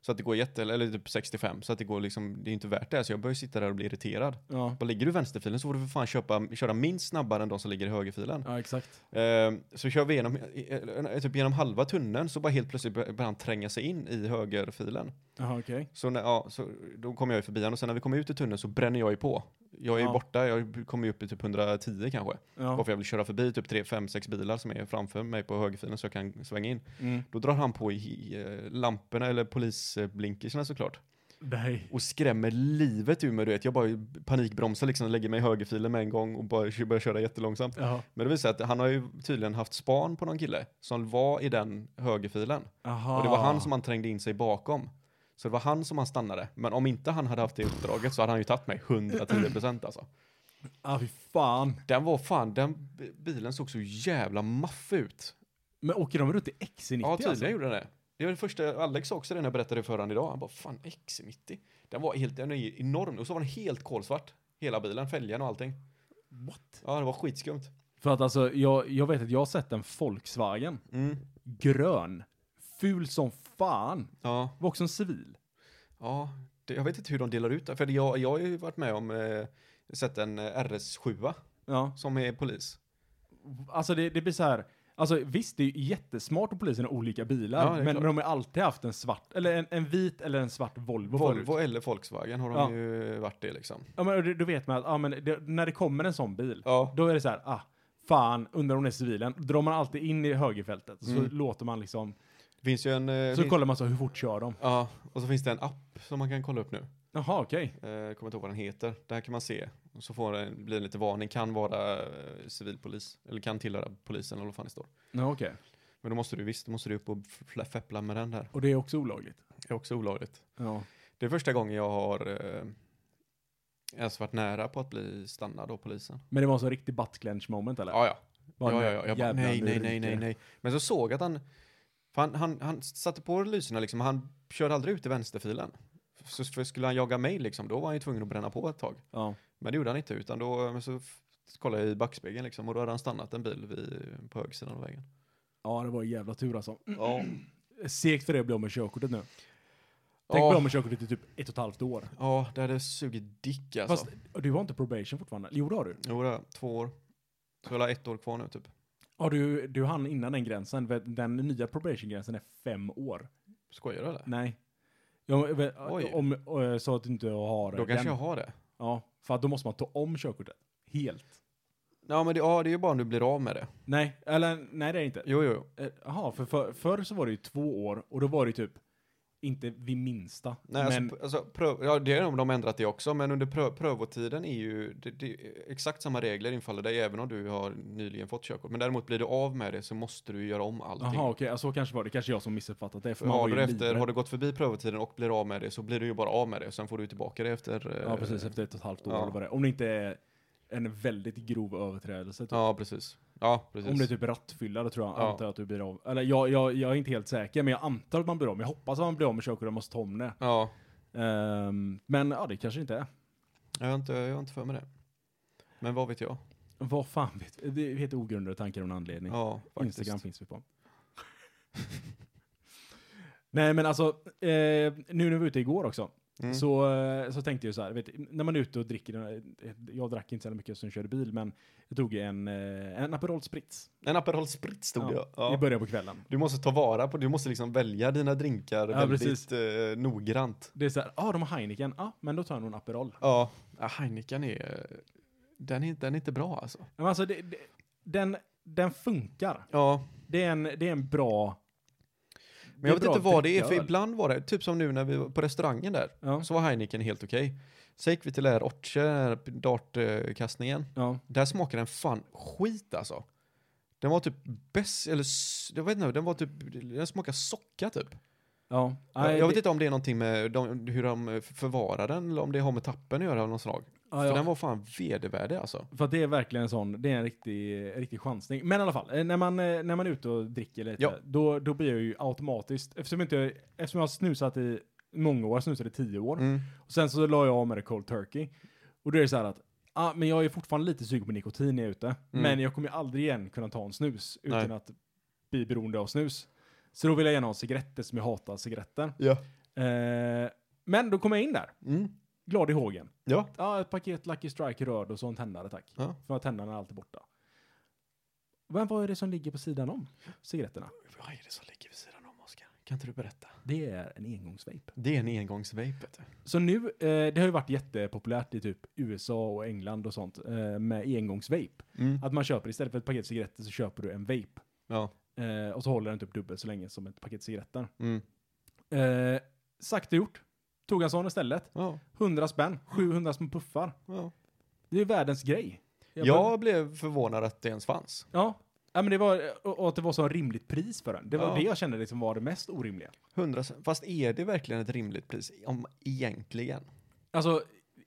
[SPEAKER 3] Så att det går jätte, eller typ 65, så att det går liksom, det är inte värt det. Så jag börjar sitta där och bli irriterad.
[SPEAKER 2] Ja.
[SPEAKER 3] Bara ligger du i vänsterfilen så får du för fan köpa, köra minst snabbare än de som ligger i högerfilen.
[SPEAKER 2] ja, exakt.
[SPEAKER 3] Eh, så kör vi genom, eh, eh, typ genom halva tunneln så bara helt plötsligt bör- börjar han tränga sig in i högerfilen.
[SPEAKER 2] Jaha, okej.
[SPEAKER 3] Så, när, ja, så då kommer jag ju förbi honom och sen när vi kommer ut i tunneln så bränner jag ju på. Jag är ju
[SPEAKER 2] Ja.
[SPEAKER 3] borta, jag kommer ju upp i typ 110 kanske. Bara
[SPEAKER 2] Ja.
[SPEAKER 3] för jag vill köra förbi typ 3, 5, 6 bilar som är framför mig på högerfilen så jag kan svänga in.
[SPEAKER 2] Mm.
[SPEAKER 3] Då drar han på i, i eh, lamporna eller polisblinkersna såklart.
[SPEAKER 2] Nej.
[SPEAKER 3] Och skrämmer livet ur mig du vet. Jag bara panikbromsar liksom, lägger mig i högerfilen med en gång och bara kö- börjar köra jättelångsamt.
[SPEAKER 2] Ja.
[SPEAKER 3] Men det visar sig att han har ju tydligen haft span på någon kille som var i den högerfilen.
[SPEAKER 2] Aha.
[SPEAKER 3] Och det var han som han trängde in sig bakom. Så det var han som han stannade. Men om inte han hade haft det uppdraget så hade han ju tagit mig 110% alltså.
[SPEAKER 2] Ah, fy fan.
[SPEAKER 3] Den var fan, den b- bilen såg så jävla maff ut.
[SPEAKER 2] Men åker de runt i XC90
[SPEAKER 3] Ja, tydligen
[SPEAKER 2] alltså?
[SPEAKER 3] gjorde den det. Det var det första, Alex sa också det när jag berättade för honom idag. Han bara, fan XC90. Den var helt, den är ju enorm. Och så var den helt kolsvart. Hela bilen, fälgen och allting.
[SPEAKER 2] What?
[SPEAKER 3] Ja, det var skitskumt.
[SPEAKER 2] För att alltså, jag, jag vet att jag har sett en Volkswagen.
[SPEAKER 3] Mm.
[SPEAKER 2] Grön. Ful som fan.
[SPEAKER 3] Ja,
[SPEAKER 2] Var också en civil.
[SPEAKER 3] Ja, det, jag vet inte hur de delar ut det. För jag, jag har ju varit med om, eh, sett en eh, RS7
[SPEAKER 2] Ja.
[SPEAKER 3] som är polis.
[SPEAKER 2] Alltså det, det blir så här. Alltså visst, det är ju jättesmart att polisen har olika bilar.
[SPEAKER 3] Ja, det är
[SPEAKER 2] men
[SPEAKER 3] klart.
[SPEAKER 2] men de har alltid haft en svart, eller en, en vit eller en svart Volvo,
[SPEAKER 3] Volvo
[SPEAKER 2] förut.
[SPEAKER 3] eller Volkswagen har de
[SPEAKER 2] Ja.
[SPEAKER 3] ju varit i liksom.
[SPEAKER 2] Ja, men då- då vet man att ja, men det, när det kommer en sån bil,
[SPEAKER 3] Ja,
[SPEAKER 2] då är det så här, ah, fan, undrar om det är civilen. Då drar man alltid in i högerfältet. Så
[SPEAKER 3] Mm.
[SPEAKER 2] låter man liksom,
[SPEAKER 3] det finns ju en... eh,
[SPEAKER 2] så
[SPEAKER 3] fin-
[SPEAKER 2] kollar man så, hur fort kör de?
[SPEAKER 3] Ja, och så finns det en app som man kan kolla upp nu.
[SPEAKER 2] Jaha, okej.
[SPEAKER 3] Eh, jag kommer inte ihåg vad den heter. Där kan man se. Och så får den, blir det lite varning. Kan vara eh, civilpolis. Eller kan tillhöra polisen eller vad fan det står.
[SPEAKER 2] Ja, okej.
[SPEAKER 3] Men då måste du visst, då måste du upp och fla- feppla med den där.
[SPEAKER 2] Och det är också olagligt.
[SPEAKER 3] Det är också olagligt.
[SPEAKER 1] Ja.
[SPEAKER 3] Det är första gången jag har eh, ens varit nära på att bli stannad av polisen.
[SPEAKER 2] Men det var en sån riktig butt clench moment eller?
[SPEAKER 3] Ja, ja.
[SPEAKER 2] Var
[SPEAKER 3] ja,
[SPEAKER 2] det
[SPEAKER 3] ja, ja. Jag bara,
[SPEAKER 2] jävla
[SPEAKER 3] nej, nej, nej,
[SPEAKER 2] lurike?
[SPEAKER 3] nej, nej. Men så såg jag att han, för han, han, han satte på lyserna liksom, han körde aldrig ut i vänsterfilen. Så för skulle han jaga mig liksom, då var han ju tvungen att bränna på ett tag.
[SPEAKER 1] Ja.
[SPEAKER 3] Men det gjorde han inte, utan då men så f- kollade jag i backspegeln liksom, och då hade han stannat en bil vid, på högersidan av vägen.
[SPEAKER 2] Ja, det var en jävla tur alltså.
[SPEAKER 3] Ja,
[SPEAKER 2] Segt för dig att bli av med körkortet nu. Tänk bli
[SPEAKER 3] ja,
[SPEAKER 2] av med körkortet i typ ett och ett halvt år.
[SPEAKER 3] ja det hade sugit dick alltså.
[SPEAKER 2] Fast du har inte probation fortfarande? Jo, det har du.
[SPEAKER 3] Jo, det är två år. Så jag har ett år kvar nu typ.
[SPEAKER 2] Ja, du, du hann innan den gränsen. för Den nya probation-gränsen är fem år.
[SPEAKER 3] Skojar du eller?
[SPEAKER 2] Nej. Jag, vet-
[SPEAKER 3] Oj.
[SPEAKER 2] om, eh, så att du inte har
[SPEAKER 3] Då
[SPEAKER 2] den.
[SPEAKER 3] kanske jag har det.
[SPEAKER 2] Ja, för att då måste man ta om körkortet. Helt.
[SPEAKER 3] Ja, men det, ja, det är ju bara om du blir av med det.
[SPEAKER 2] Nej, eller nej det är det inte.
[SPEAKER 3] Jo, jo, jo.
[SPEAKER 2] Eh, Jaha, för, för förr så var det ju två år och då var det ju typ inte vid minsta.
[SPEAKER 3] Nej,
[SPEAKER 2] men
[SPEAKER 3] alltså, alltså, pröv, ja, det har de ändrat det också, men under pröv, prövotiden är ju det, det, exakt samma regler infaller dig även om du har nyligen fått körkort. Men däremot blir du av med det så måste du göra om allting.
[SPEAKER 2] jaha okej, ja, så kanske var det. Kanske jag som missuppfattat det. För man
[SPEAKER 3] har,
[SPEAKER 2] var ju
[SPEAKER 3] du efter,
[SPEAKER 2] livrädd.
[SPEAKER 3] har du gått förbi prövotiden och blir av med det så blir du ju bara av med det. Sen får du ju tillbaka det efter... eh,
[SPEAKER 2] Ja precis, efter ett och ett halvt år
[SPEAKER 3] Ja.
[SPEAKER 2] eller vad det är. Om det inte är en väldigt grov överträdelse. Typ.
[SPEAKER 3] Ja, precis. Ja, precis.
[SPEAKER 2] Om det är typ rattfylla, då tror jag
[SPEAKER 3] Ja.
[SPEAKER 2] antar jag att du blir av. Eller jag, jag, jag är inte helt säker, men jag antar att man blir av. Men jag hoppas att man blir av med körkortet och måste ta om det.
[SPEAKER 3] Ja,
[SPEAKER 2] Ehm, men ja, det kanske inte är.
[SPEAKER 3] jag har, inte, jag har inte för mig det. Men vad vet jag?
[SPEAKER 2] Vad fan vet Det heter ogrundade tankar och en anledning.
[SPEAKER 3] Ja, faktiskt.
[SPEAKER 2] Instagram finns vi på. Nej men alltså, eh, nu när vi var ute igår också,
[SPEAKER 3] Mm.
[SPEAKER 2] så, eh, så tänkte jag så här, vet, du, när man är ute och dricker, eh, jag drack inte så jävla mycket som körde bil, men jag tog en, eh, en Aperol Spritz
[SPEAKER 3] En Aperol Spritz stod
[SPEAKER 2] Ja,
[SPEAKER 3] det. Ja.
[SPEAKER 2] i början på kvällen.
[SPEAKER 3] Du måste ta vara på, du måste liksom välja dina drinkar
[SPEAKER 2] Ja,
[SPEAKER 3] väldigt
[SPEAKER 2] precis.
[SPEAKER 3] eh, noggrant.
[SPEAKER 2] Det är så här, ja ah, de har Heineken, ja ah, men då tar jag nog en Aperol.
[SPEAKER 3] Ja, ja, Heineken är, eh, den är, den är inte bra alltså.
[SPEAKER 2] Men alltså, det, det, den, den funkar.
[SPEAKER 3] Ja,
[SPEAKER 2] Det är en, det är en bra...
[SPEAKER 3] men jag vet inte vad det är, för
[SPEAKER 2] ibland
[SPEAKER 3] ibland var det, typ som nu när vi var på restaurangen där,
[SPEAKER 2] Ja,
[SPEAKER 3] så var Heineken helt okej. Så gick vi till där Orche, den här dartkastningen.
[SPEAKER 2] ja.
[SPEAKER 3] Där smakade den fan skit alltså. Den var typ bäst, eller s- jag vet inte, den var typ, den smakade socka typ.
[SPEAKER 2] ja.
[SPEAKER 3] jag,
[SPEAKER 2] Nej,
[SPEAKER 3] jag vet
[SPEAKER 2] det-
[SPEAKER 3] inte om det är någonting med de, hur de förvarar den eller om det har med tappen att göra av något slag.
[SPEAKER 2] ja,
[SPEAKER 3] För
[SPEAKER 2] ja.
[SPEAKER 3] den var fan vedervärdig alltså.
[SPEAKER 2] För att det är verkligen en sån, det är en riktig, en riktig chansning. Men i alla fall, eh, när man, eh, när man är ute och dricker lite,
[SPEAKER 3] Ja.
[SPEAKER 2] då, då blir jag ju automatiskt, eftersom, inte, eftersom jag har snusat i många år, jag snusade i tio år,
[SPEAKER 3] Mm.
[SPEAKER 2] och sen så la jag av med det cold turkey. Och då är det så här att, ah, men jag är fortfarande lite sugen på nikotin när jag är ute, men jag kommer ju aldrig igen kunna ta en snus utan
[SPEAKER 3] Mm. Nej.
[SPEAKER 2] att bli beroende av snus. Så då vill jag gärna ha cigaretter, som jag hatar cigaretter.
[SPEAKER 3] Ja.
[SPEAKER 2] Eh, men då kom jag in där,
[SPEAKER 3] Mm.
[SPEAKER 2] glad i hågen.
[SPEAKER 3] Ja.
[SPEAKER 2] Ja, ett paket Lucky Strike röd och så en tändare tack.
[SPEAKER 3] Ja.
[SPEAKER 2] För att tändarna är alltid borta. Men vad är det som ligger på sidan om cigaretterna?
[SPEAKER 3] Vad är det som ligger vid sidan om Oskar? Kan inte du berätta?
[SPEAKER 2] Det är en engångsvape.
[SPEAKER 3] Det är en engångsvape vet du.
[SPEAKER 2] Så nu, eh, det har ju varit jättepopulärt i typ USA och England och sånt eh, med engångsvape.
[SPEAKER 3] Mm.
[SPEAKER 2] Att man köper istället för ett paket cigaretter så köper du en vape.
[SPEAKER 3] Ja.
[SPEAKER 2] Eh, och så håller den typ dubbelt så länge som ett paket cigaretter.
[SPEAKER 3] Mm.
[SPEAKER 2] Eh, sagt och gjort. Tog en sån istället.
[SPEAKER 3] Ja.
[SPEAKER 2] 100 spänn. 700 små puffar.
[SPEAKER 3] ja.
[SPEAKER 2] Det är världens grej.
[SPEAKER 3] Jag,
[SPEAKER 2] bara-
[SPEAKER 3] blev förvånad att det ens fanns.
[SPEAKER 2] Ja. Ja, men det var, och och att det var så rimligt pris för den. Det var
[SPEAKER 3] Ja.
[SPEAKER 2] det jag kände liksom var det mest orimliga.
[SPEAKER 3] 100 Fast är det verkligen ett rimligt pris? Om egentligen?
[SPEAKER 2] Alltså,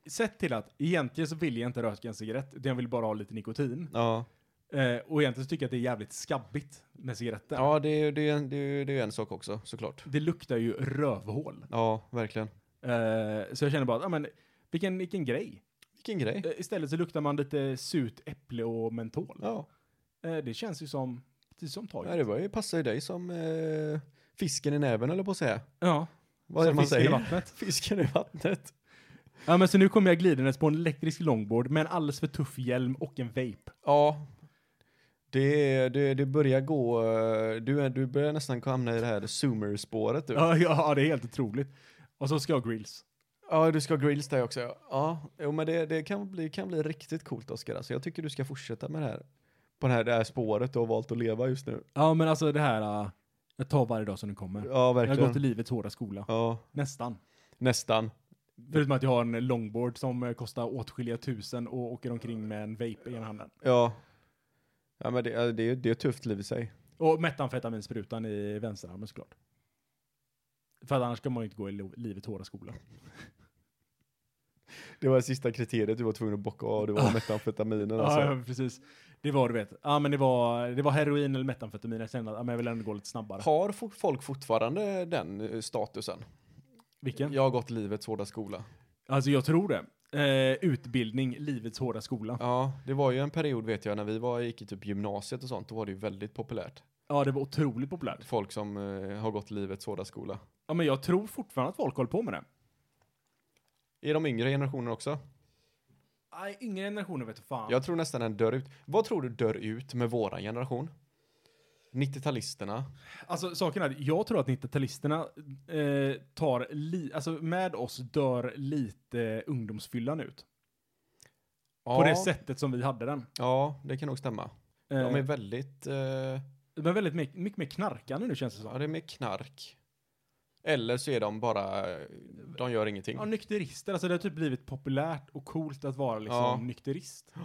[SPEAKER 2] sett till att egentligen så vill jag inte röka en cigarett, utan jag vill bara ha lite nikotin.
[SPEAKER 3] Ja.
[SPEAKER 2] Eh, och egentligen så tycker jag att det är jävligt skabbigt med cigaretter.
[SPEAKER 3] Ja, det är ju det är, en- det är, det är en sak också såklart.
[SPEAKER 2] Det luktar ju rövhål.
[SPEAKER 3] Ja, verkligen.
[SPEAKER 2] Eh, så jag känner bara att, ja men, vilken, vilken grej.
[SPEAKER 3] Vilken grej.
[SPEAKER 2] Eh, istället så luktar man lite surt äpple och mentol.
[SPEAKER 3] Ja.
[SPEAKER 2] Eh, det känns ju som, precis som
[SPEAKER 3] Ja,
[SPEAKER 2] taget.
[SPEAKER 3] det var ju, passar ju dig som eh, fisken i näven eller på att säga.
[SPEAKER 2] Ja,
[SPEAKER 3] Vad är det
[SPEAKER 2] som
[SPEAKER 3] man
[SPEAKER 2] fisken i
[SPEAKER 3] säger?
[SPEAKER 2] vattnet.
[SPEAKER 3] Fisken i vattnet.
[SPEAKER 2] Ja men så nu kommer jag glidandes på en elektrisk longboard med en alldeles för tuff hjälm och en vape.
[SPEAKER 3] Ja. Det, är- det, det börjar gå, eh, du, är- du börjar nästan hamna i det här zoomer-spåret du. Ja.
[SPEAKER 2] Ja, ja, det är helt otroligt. Och så ska jag ha grills.
[SPEAKER 3] du ska ha grills där också. ja. Ja, jo, men det, det kan, bli, kan bli riktigt coolt Oskar. Alltså, jag tycker du ska fortsätta med det här. På det här, det här spåret du har valt att leva just nu.
[SPEAKER 2] Ja, men alltså det här, äh, jag tar varje dag som den kommer.
[SPEAKER 3] Ja,
[SPEAKER 2] jag har gått i
[SPEAKER 3] verkligen.
[SPEAKER 2] livets hårda skola.
[SPEAKER 3] Ja,
[SPEAKER 2] Nästan.
[SPEAKER 3] nästan.
[SPEAKER 2] Förutom att jag har en longboard som eh, kostar åtskilliga tusen och åker omkring med en vape i ena handen.
[SPEAKER 3] Ja. Ja, men det, det, är- det är ett tufft liv i sig.
[SPEAKER 2] Och metamfetaminsprutan i vänsterarmen såklart. För att annars ska man ju inte gå i lo- livets hårda skola.
[SPEAKER 3] Det var det sista kriteriet du var tvungen att bocka av, det var metamfetaminen alltså.
[SPEAKER 2] Ah. Ja, ja, precis. Det var, du vet. Ja, men det var, det var heroin eller metamfetamin. Jag kände att ja, men jag vill ändå gå lite snabbare.
[SPEAKER 3] Har fo- folk fortfarande den eh, statusen?
[SPEAKER 2] Vilken?
[SPEAKER 3] Jag har gått livets hårda skola.
[SPEAKER 2] Alltså jag tror det. Eh, utbildning, livets hårda skola.
[SPEAKER 3] Ja, det var ju en period vet jag när vi var, gick i typ gymnasiet och sånt, då var det ju väldigt populärt.
[SPEAKER 2] Ja, det var otroligt populärt.
[SPEAKER 3] Folk som eh, har gått livets hårda skola.
[SPEAKER 2] Ja, men jag tror fortfarande att folk håller på med det.
[SPEAKER 3] I de yngre generationerna också.
[SPEAKER 2] Nej, yngre generationer vet du fan.
[SPEAKER 3] Jag tror nästan den dör ut. Vad tror du dör ut med våran generation? 90-talisterna.
[SPEAKER 2] Alltså saken är, jag tror att 90-talisterna eh, tar, li- alltså med oss dör lite ungdomsfyllan ut.
[SPEAKER 3] Ja,
[SPEAKER 2] På det sättet som vi hade den.
[SPEAKER 3] Ja, det kan nog stämma.
[SPEAKER 2] Eh,
[SPEAKER 3] De är väldigt, eh,
[SPEAKER 2] De är väldigt mycket, mycket mer knarkande nu känns det
[SPEAKER 3] ja
[SPEAKER 2] som.
[SPEAKER 3] det är mer knark. Eller så är de bara, eh, de gör ingenting.
[SPEAKER 2] Ja, nykterister, alltså det har typ blivit populärt och coolt att vara liksom
[SPEAKER 3] Ja.
[SPEAKER 2] nykterist.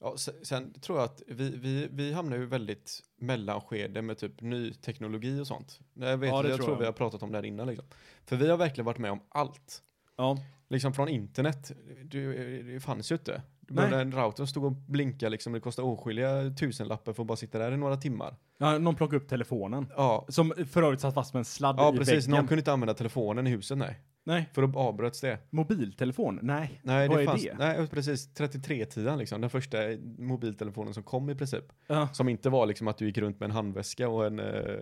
[SPEAKER 3] Ja, se- sen tror jag att vi, vi, vi hamnar ju väldigt mellanskede med typ ny teknologi och sånt. Jag, vet,
[SPEAKER 2] Ja, det
[SPEAKER 3] jag
[SPEAKER 2] tror
[SPEAKER 3] tror
[SPEAKER 2] jag.
[SPEAKER 3] vi har pratat om det här innan. Liksom. För vi har verkligen varit med om allt.
[SPEAKER 2] Ja.
[SPEAKER 3] Liksom från internet, det, det fanns ju inte. Du
[SPEAKER 2] Nej.
[SPEAKER 3] behövde en router som stod och blinkade liksom, det kostade åtskilliga tusenlappar för att bara sitta där i några timmar.
[SPEAKER 2] ja, någon plockade upp telefonen.
[SPEAKER 3] Ja,
[SPEAKER 2] Som för övrigt satt fast med en sladd
[SPEAKER 3] ja
[SPEAKER 2] i
[SPEAKER 3] precis.
[SPEAKER 2] väggen.
[SPEAKER 3] Någon kunde inte använda telefonen i huset, nej.
[SPEAKER 2] Nej,
[SPEAKER 3] För då avbröts det.
[SPEAKER 2] mobiltelefon? Nej.
[SPEAKER 3] Nej,
[SPEAKER 2] Vad
[SPEAKER 3] det
[SPEAKER 2] är
[SPEAKER 3] fanns,
[SPEAKER 2] det?
[SPEAKER 3] nej precis. 3310 liksom, den första mobiltelefonen som kom i princip.
[SPEAKER 2] Ja,
[SPEAKER 3] Som inte var liksom att du gick runt med en handväska och en eh,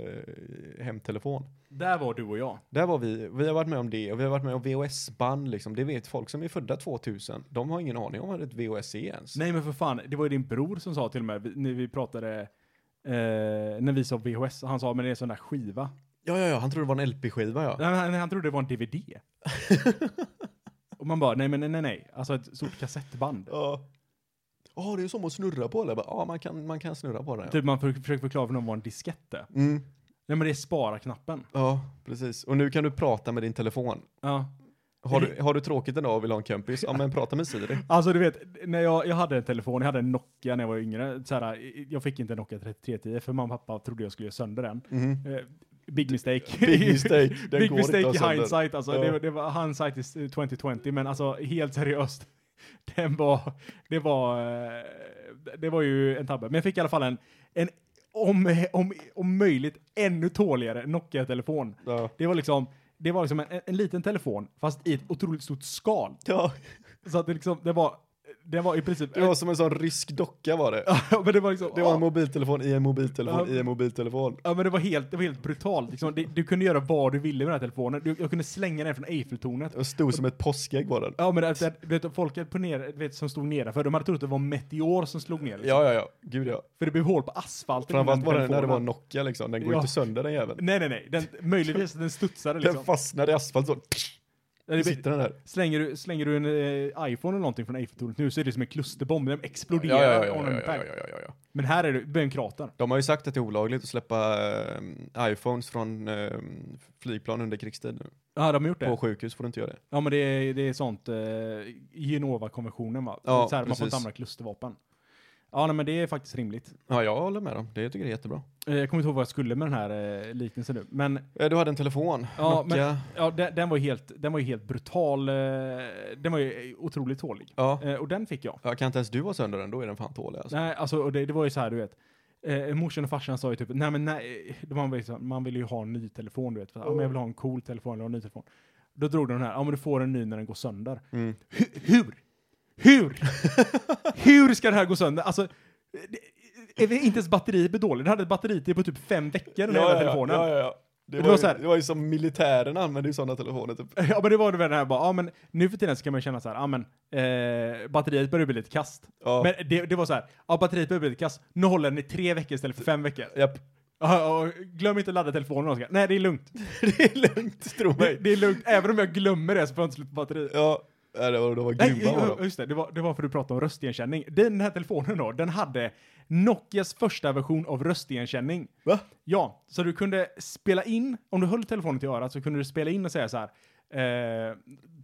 [SPEAKER 3] hemtelefon.
[SPEAKER 2] där var du och jag.
[SPEAKER 3] Där var vi, vi har varit med om det och vi har varit med om VHS-band liksom. Det vet folk som är födda 2000. De har ingen aning om vad ett VHS är ens.
[SPEAKER 2] Nej men för fan, det var ju din bror som sa till mig vi- när vi pratade, eh, när vi sa VHS, han sa men det är en sån där skiva.
[SPEAKER 3] Ja, ja, ja, han trodde det var en LP-skiva ja.
[SPEAKER 2] Han, han, han trodde det var en DVD. och man bara, nej men nej, nej nej, alltså ett stort kassettband.
[SPEAKER 3] Ja, Ja, det är som att snurra på eller? Ja, man kan, man kan snurra på den. Ja.
[SPEAKER 2] Typ man för, försöker förklara för någon vad en diskett är.
[SPEAKER 3] Mm,
[SPEAKER 2] Nej men det är spara-knappen.
[SPEAKER 3] ja, precis. Och nu kan du prata med din telefon.
[SPEAKER 2] Ja.
[SPEAKER 3] Har du, har du tråkigt en dag och vill ha en kompis? Ja, men prata med Siri.
[SPEAKER 2] Alltså du vet, när jag, jag hade en telefon, jag hade en Nokia när jag var yngre. Så här, eh, jag fick inte en Nokia 3310 för mamma och pappa trodde jag skulle göra sönder den.
[SPEAKER 3] Mhm.
[SPEAKER 2] Eh, Big mistake.
[SPEAKER 3] Big mistake. Den
[SPEAKER 2] Big
[SPEAKER 3] går inte
[SPEAKER 2] mistake
[SPEAKER 3] att
[SPEAKER 2] i
[SPEAKER 3] sönder.
[SPEAKER 2] hindsight. Alltså,
[SPEAKER 3] Ja.
[SPEAKER 2] det, var- det var hindsight is 2020, men alltså helt seriöst. Den var, det var, eh, det var ju en tabbe. Men jag fick i alla fall en, en om, om, om möjligt ännu tåligare Nokia-telefon.
[SPEAKER 3] Ja.
[SPEAKER 2] Det var liksom, det var liksom en, en liten telefon, fast i ett otroligt stort skal.
[SPEAKER 3] ja,
[SPEAKER 2] Så att det liksom, det var, det var i princip...
[SPEAKER 3] det var som en sån rysk docka var det.
[SPEAKER 2] men det var liksom...
[SPEAKER 3] Det var en mobiltelefon i en mobiltelefon
[SPEAKER 2] Ja.
[SPEAKER 3] i en mobiltelefon.
[SPEAKER 2] Ja men det var helt, det var helt brutalt. Liksom, det, du kunde göra vad du ville med den här telefonen. Du, jag kunde slänga den från Eiffeltornet.
[SPEAKER 3] Och stod som ett påskägg var den.
[SPEAKER 2] Ja men det, det, du vet, folk på ner, du vet, som stod nedanför, de hade trott att det var en meteor som slog ner. Liksom.
[SPEAKER 3] Ja, ja, ja. Gud ja.
[SPEAKER 2] För det blev hål på asfalten.
[SPEAKER 3] Framförallt var
[SPEAKER 2] innan
[SPEAKER 3] det när det
[SPEAKER 2] telefonen.
[SPEAKER 3] var Nokia liksom. Den går ju
[SPEAKER 2] Ja.
[SPEAKER 3] inte sönder den jäveln.
[SPEAKER 2] Nej nej nej, den, möjligtvis att den studsade liksom.
[SPEAKER 3] Den fastnade i asfalt så.
[SPEAKER 2] Ja, det
[SPEAKER 3] Det
[SPEAKER 2] blir-
[SPEAKER 3] sitter den där.
[SPEAKER 2] slänger, du, slänger du en eh, iPhone eller någonting från Eiffeltornet nu så är det som en klusterbomb, den exploderar
[SPEAKER 3] Ja, ja, ja,
[SPEAKER 2] on
[SPEAKER 3] ja,
[SPEAKER 2] en
[SPEAKER 3] ja, ja,
[SPEAKER 2] impact.
[SPEAKER 3] ja, ja, ja.
[SPEAKER 2] Men här är det, det är en krater.
[SPEAKER 3] De har ju sagt att det är olagligt att släppa ehm, iPhones från ehm, flygplan under krigstid nu.
[SPEAKER 2] Ja, de har gjort det.
[SPEAKER 3] På sjukhus får du inte göra det.
[SPEAKER 2] Ja men det är, det är sånt, eh, Genova-konventionen va?
[SPEAKER 3] Ja,
[SPEAKER 2] så här, man får
[SPEAKER 3] precis.
[SPEAKER 2] inte använda klustervapen. Ja nej, men det är faktiskt rimligt.
[SPEAKER 3] Ja, jag håller med dem. Det tycker jag är jättebra.
[SPEAKER 2] Eh, jag kommer inte ihåg vad jag skulle med den här eh, liknelsen nu. Men
[SPEAKER 3] Eh, Du hade en telefon.
[SPEAKER 2] Ja,
[SPEAKER 3] Nokia.
[SPEAKER 2] ja, den, den, var ju helt, den var ju helt brutal. Eh, den var ju otroligt tålig.
[SPEAKER 3] Ja.
[SPEAKER 2] Eh, och den fick jag.
[SPEAKER 3] ja. Kan inte ens du vara sönder den, då är den fan tålig alltså.
[SPEAKER 2] Nej, alltså och det, det var ju så här du vet. Eh, morsan och farsan sa ju typ, nej men nej, de var ju så här, man vill ju ha en ny telefon du vet. För, Ja, men jag vill ha en cool telefon eller en ny telefon. Då drog de den här, ja men du får en ny när den går sönder.
[SPEAKER 3] Mm.
[SPEAKER 2] Hu- hur? Hur? hur ska det här gå sönder? Alltså, det, är det inte ens batteriet blir dåligt? Den hade ett batteritid på typ fem veckor den här jävla telefonen.
[SPEAKER 3] Ja, ja, ja. Det,
[SPEAKER 2] Det
[SPEAKER 3] var
[SPEAKER 2] var
[SPEAKER 3] ju,
[SPEAKER 2] så här-
[SPEAKER 3] det var ju som militären använde ju sådana telefoner typ.
[SPEAKER 2] Ja men det var det väl den här bara, ja men nu för tiden så kan man ju känna så här, ja men eh, batteriet börjar bli lite kast.
[SPEAKER 3] Ja.
[SPEAKER 2] Men det, det var så här, ja batteriet börjar bli lite kast, nu håller den i tre veckor istället för fem veckor.
[SPEAKER 3] Japp.
[SPEAKER 2] Ja, och glöm inte att ladda telefonen Oskar. Nej det är lugnt.
[SPEAKER 3] det är lugnt, tro
[SPEAKER 2] Det,
[SPEAKER 3] mig.
[SPEAKER 2] det är lugnt, även om jag glömmer det så får jag inte slut på batteri.
[SPEAKER 3] Ja, nej, det var, de var
[SPEAKER 2] Nej,
[SPEAKER 3] grymma var
[SPEAKER 2] ju-
[SPEAKER 3] de.
[SPEAKER 2] just det, det var, det var för att du pratade om röstigenkänning. Den här telefonen då, den hade Nokias första version av röstigenkänning.
[SPEAKER 3] Va?
[SPEAKER 2] Ja, så du kunde spela in, om du höll telefonen till örat så kunde du spela in och säga så här, eh,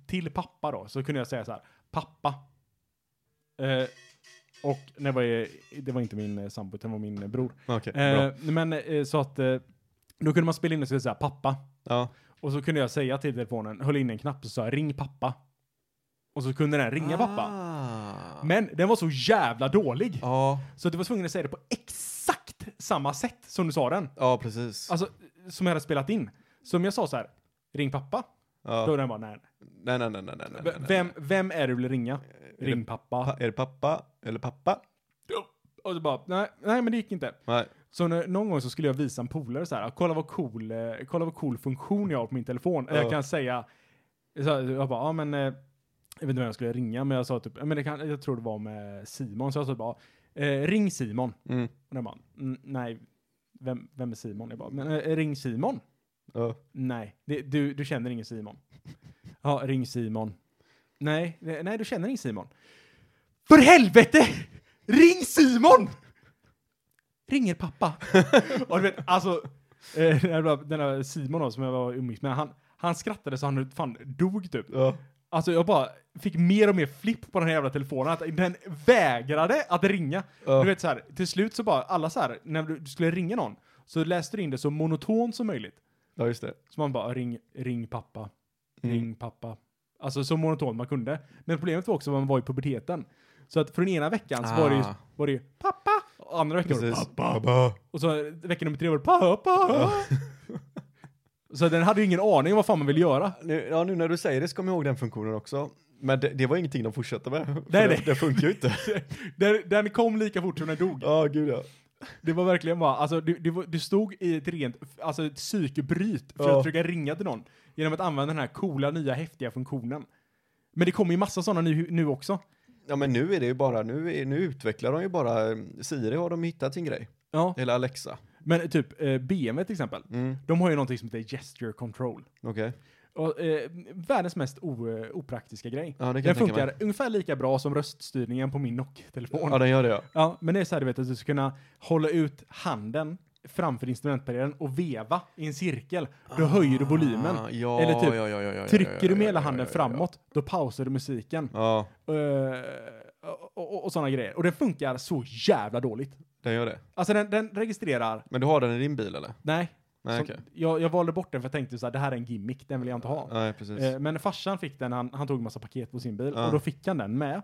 [SPEAKER 2] till pappa då, så kunde jag säga så här, pappa. Eh, Och nej, var jag, det var inte min eh, sambo, utan det var min eh, bror.
[SPEAKER 3] Okej, bra.
[SPEAKER 2] Eh, men eh, så att eh, då kunde man spela in och säga så här, pappa.
[SPEAKER 3] Ja.
[SPEAKER 2] Och så kunde jag säga till telefonen, höll in en knapp och sa ring pappa. Och så kunde den ringa pappa.
[SPEAKER 3] Ah.
[SPEAKER 2] Men den var så jävla dålig.
[SPEAKER 3] Ja,
[SPEAKER 2] Så du var tvungen att säga det på exakt samma sätt som du sa den.
[SPEAKER 3] ja precis.
[SPEAKER 2] Alltså, som jag hade spelat in. Så om jag sa så här, ring pappa. Då
[SPEAKER 3] ja.
[SPEAKER 2] var den bara, nej.
[SPEAKER 3] Nej, nej, nej, nej, nej, nej,
[SPEAKER 2] V-
[SPEAKER 3] nej.
[SPEAKER 2] Vem, vem är det du vill ringa?
[SPEAKER 3] det
[SPEAKER 2] Ring pappa.
[SPEAKER 3] Pa- är det pappa? Eller pappa?
[SPEAKER 2] Och så bara, nej, nej men det gick inte.
[SPEAKER 3] Nej.
[SPEAKER 2] Så när, någon gång så skulle jag visa en polare så här, kolla vad cool, eh, kolla vad cool funktion jag har på min telefon.
[SPEAKER 3] Ja.
[SPEAKER 2] Jag kan säga, så här, jag bara, ja men, eh, jag vet inte vem jag skulle ringa, men jag sa typ, ja, men det kan, jag tror det var med Simon, så jag sa bara, eh, ring Simon.
[SPEAKER 3] Mm.
[SPEAKER 2] Och den bara, "Mm, nej, vem, vem är Simon? Jag bara, men eh, ring Simon.
[SPEAKER 3] Ja.
[SPEAKER 2] Nej, det, du, du känner ingen Simon. Ja, ring Simon. Nej, ne- nej, du känner ingen Simon. För helvete! Ring Simon! Ringer pappa. Och du vet, alltså, eh, den där- den där Simon då, som jag var umgicks med, han, han skrattade så han fan dog typ.
[SPEAKER 3] Ja.
[SPEAKER 2] Alltså jag bara fick mer och mer flipp på den här jävla telefonen, att den vägrade att ringa.
[SPEAKER 3] Ja.
[SPEAKER 2] Du vet så här, till slut så bara, alla så här, när du du skulle ringa någon, så läste du in det så monotont som möjligt.
[SPEAKER 3] ja, just det.
[SPEAKER 2] Så man bara ring, ring pappa,
[SPEAKER 3] Mm.
[SPEAKER 2] ring pappa. Alltså så monotont man kunde. Men problemet var också att man var i puberteten. Så att från ena veckan så var det ju,
[SPEAKER 3] Ah.
[SPEAKER 2] var det ju pappa, och andra veckan var det
[SPEAKER 3] Precis.
[SPEAKER 2] pappa. Och så vecka nummer tre var det pappa. så den hade ju ingen aning om vad fan man ville göra.
[SPEAKER 3] Nu, ja, nu när du säger det så kommer jag ihåg den funktionen också. Men det, det var ingenting de fortsatte med. För
[SPEAKER 2] Nej,
[SPEAKER 3] det,
[SPEAKER 2] nej.
[SPEAKER 3] det funkar ju inte.
[SPEAKER 2] Den, den kom lika fort som den dog.
[SPEAKER 3] Ja, gud ja.
[SPEAKER 2] Det var verkligen bara, alltså du, du, var- du stod i ett rent, alltså ett psykbryt för
[SPEAKER 3] Ja.
[SPEAKER 2] att försöka ringa till någon. Genom att använda den här coola, nya, häftiga funktionen. Men det kommer ju massa sådana nu, nu också.
[SPEAKER 3] Ja, men nu är det ju bara, nu, är, nu utvecklar de ju bara, Siri har de hittat sin grej.
[SPEAKER 2] Ja.
[SPEAKER 3] Eller Alexa.
[SPEAKER 2] Men typ eh, BMW till exempel,
[SPEAKER 3] Mm,
[SPEAKER 2] de har ju någonting som heter gesture control.
[SPEAKER 3] okej.
[SPEAKER 2] Och, eh, världens mest o, eh, opraktiska grej.
[SPEAKER 3] Ja, det kan
[SPEAKER 2] Den
[SPEAKER 3] jag tänka mig.
[SPEAKER 2] funkar ungefär lika bra som röststyrningen på min Nokia-telefon.
[SPEAKER 3] Ja,
[SPEAKER 2] Ja,
[SPEAKER 3] den gör det ja.
[SPEAKER 2] men det är så här du vet, att du ska kunna hålla ut handen framför instrumentpedalen och veva i en cirkel. Då höjer du volymen.
[SPEAKER 3] Ah, ja,
[SPEAKER 2] Eller typ,
[SPEAKER 3] ja, ja, ja, ja, ja, ja,
[SPEAKER 2] Trycker du med
[SPEAKER 3] ja,
[SPEAKER 2] hela
[SPEAKER 3] ja,
[SPEAKER 2] handen
[SPEAKER 3] ja, ja, ja.
[SPEAKER 2] framåt, då pausar du musiken.
[SPEAKER 3] Ja,
[SPEAKER 2] Eh, och och, och sådana grejer. Och det funkar så jävla dåligt.
[SPEAKER 3] den gör det.
[SPEAKER 2] Alltså den, den registrerar,
[SPEAKER 3] Men du har den i din bil eller?
[SPEAKER 2] nej,
[SPEAKER 3] Nej,
[SPEAKER 2] Som-
[SPEAKER 3] okej.
[SPEAKER 2] jag, jag valde bort den för jag tänkte så här, det här är en gimmick, den vill jag inte ha.
[SPEAKER 3] Nej, precis.
[SPEAKER 2] Eh, men farsan fick den, han, han tog en massa paket på sin bil
[SPEAKER 3] Ja.
[SPEAKER 2] och då fick han den med.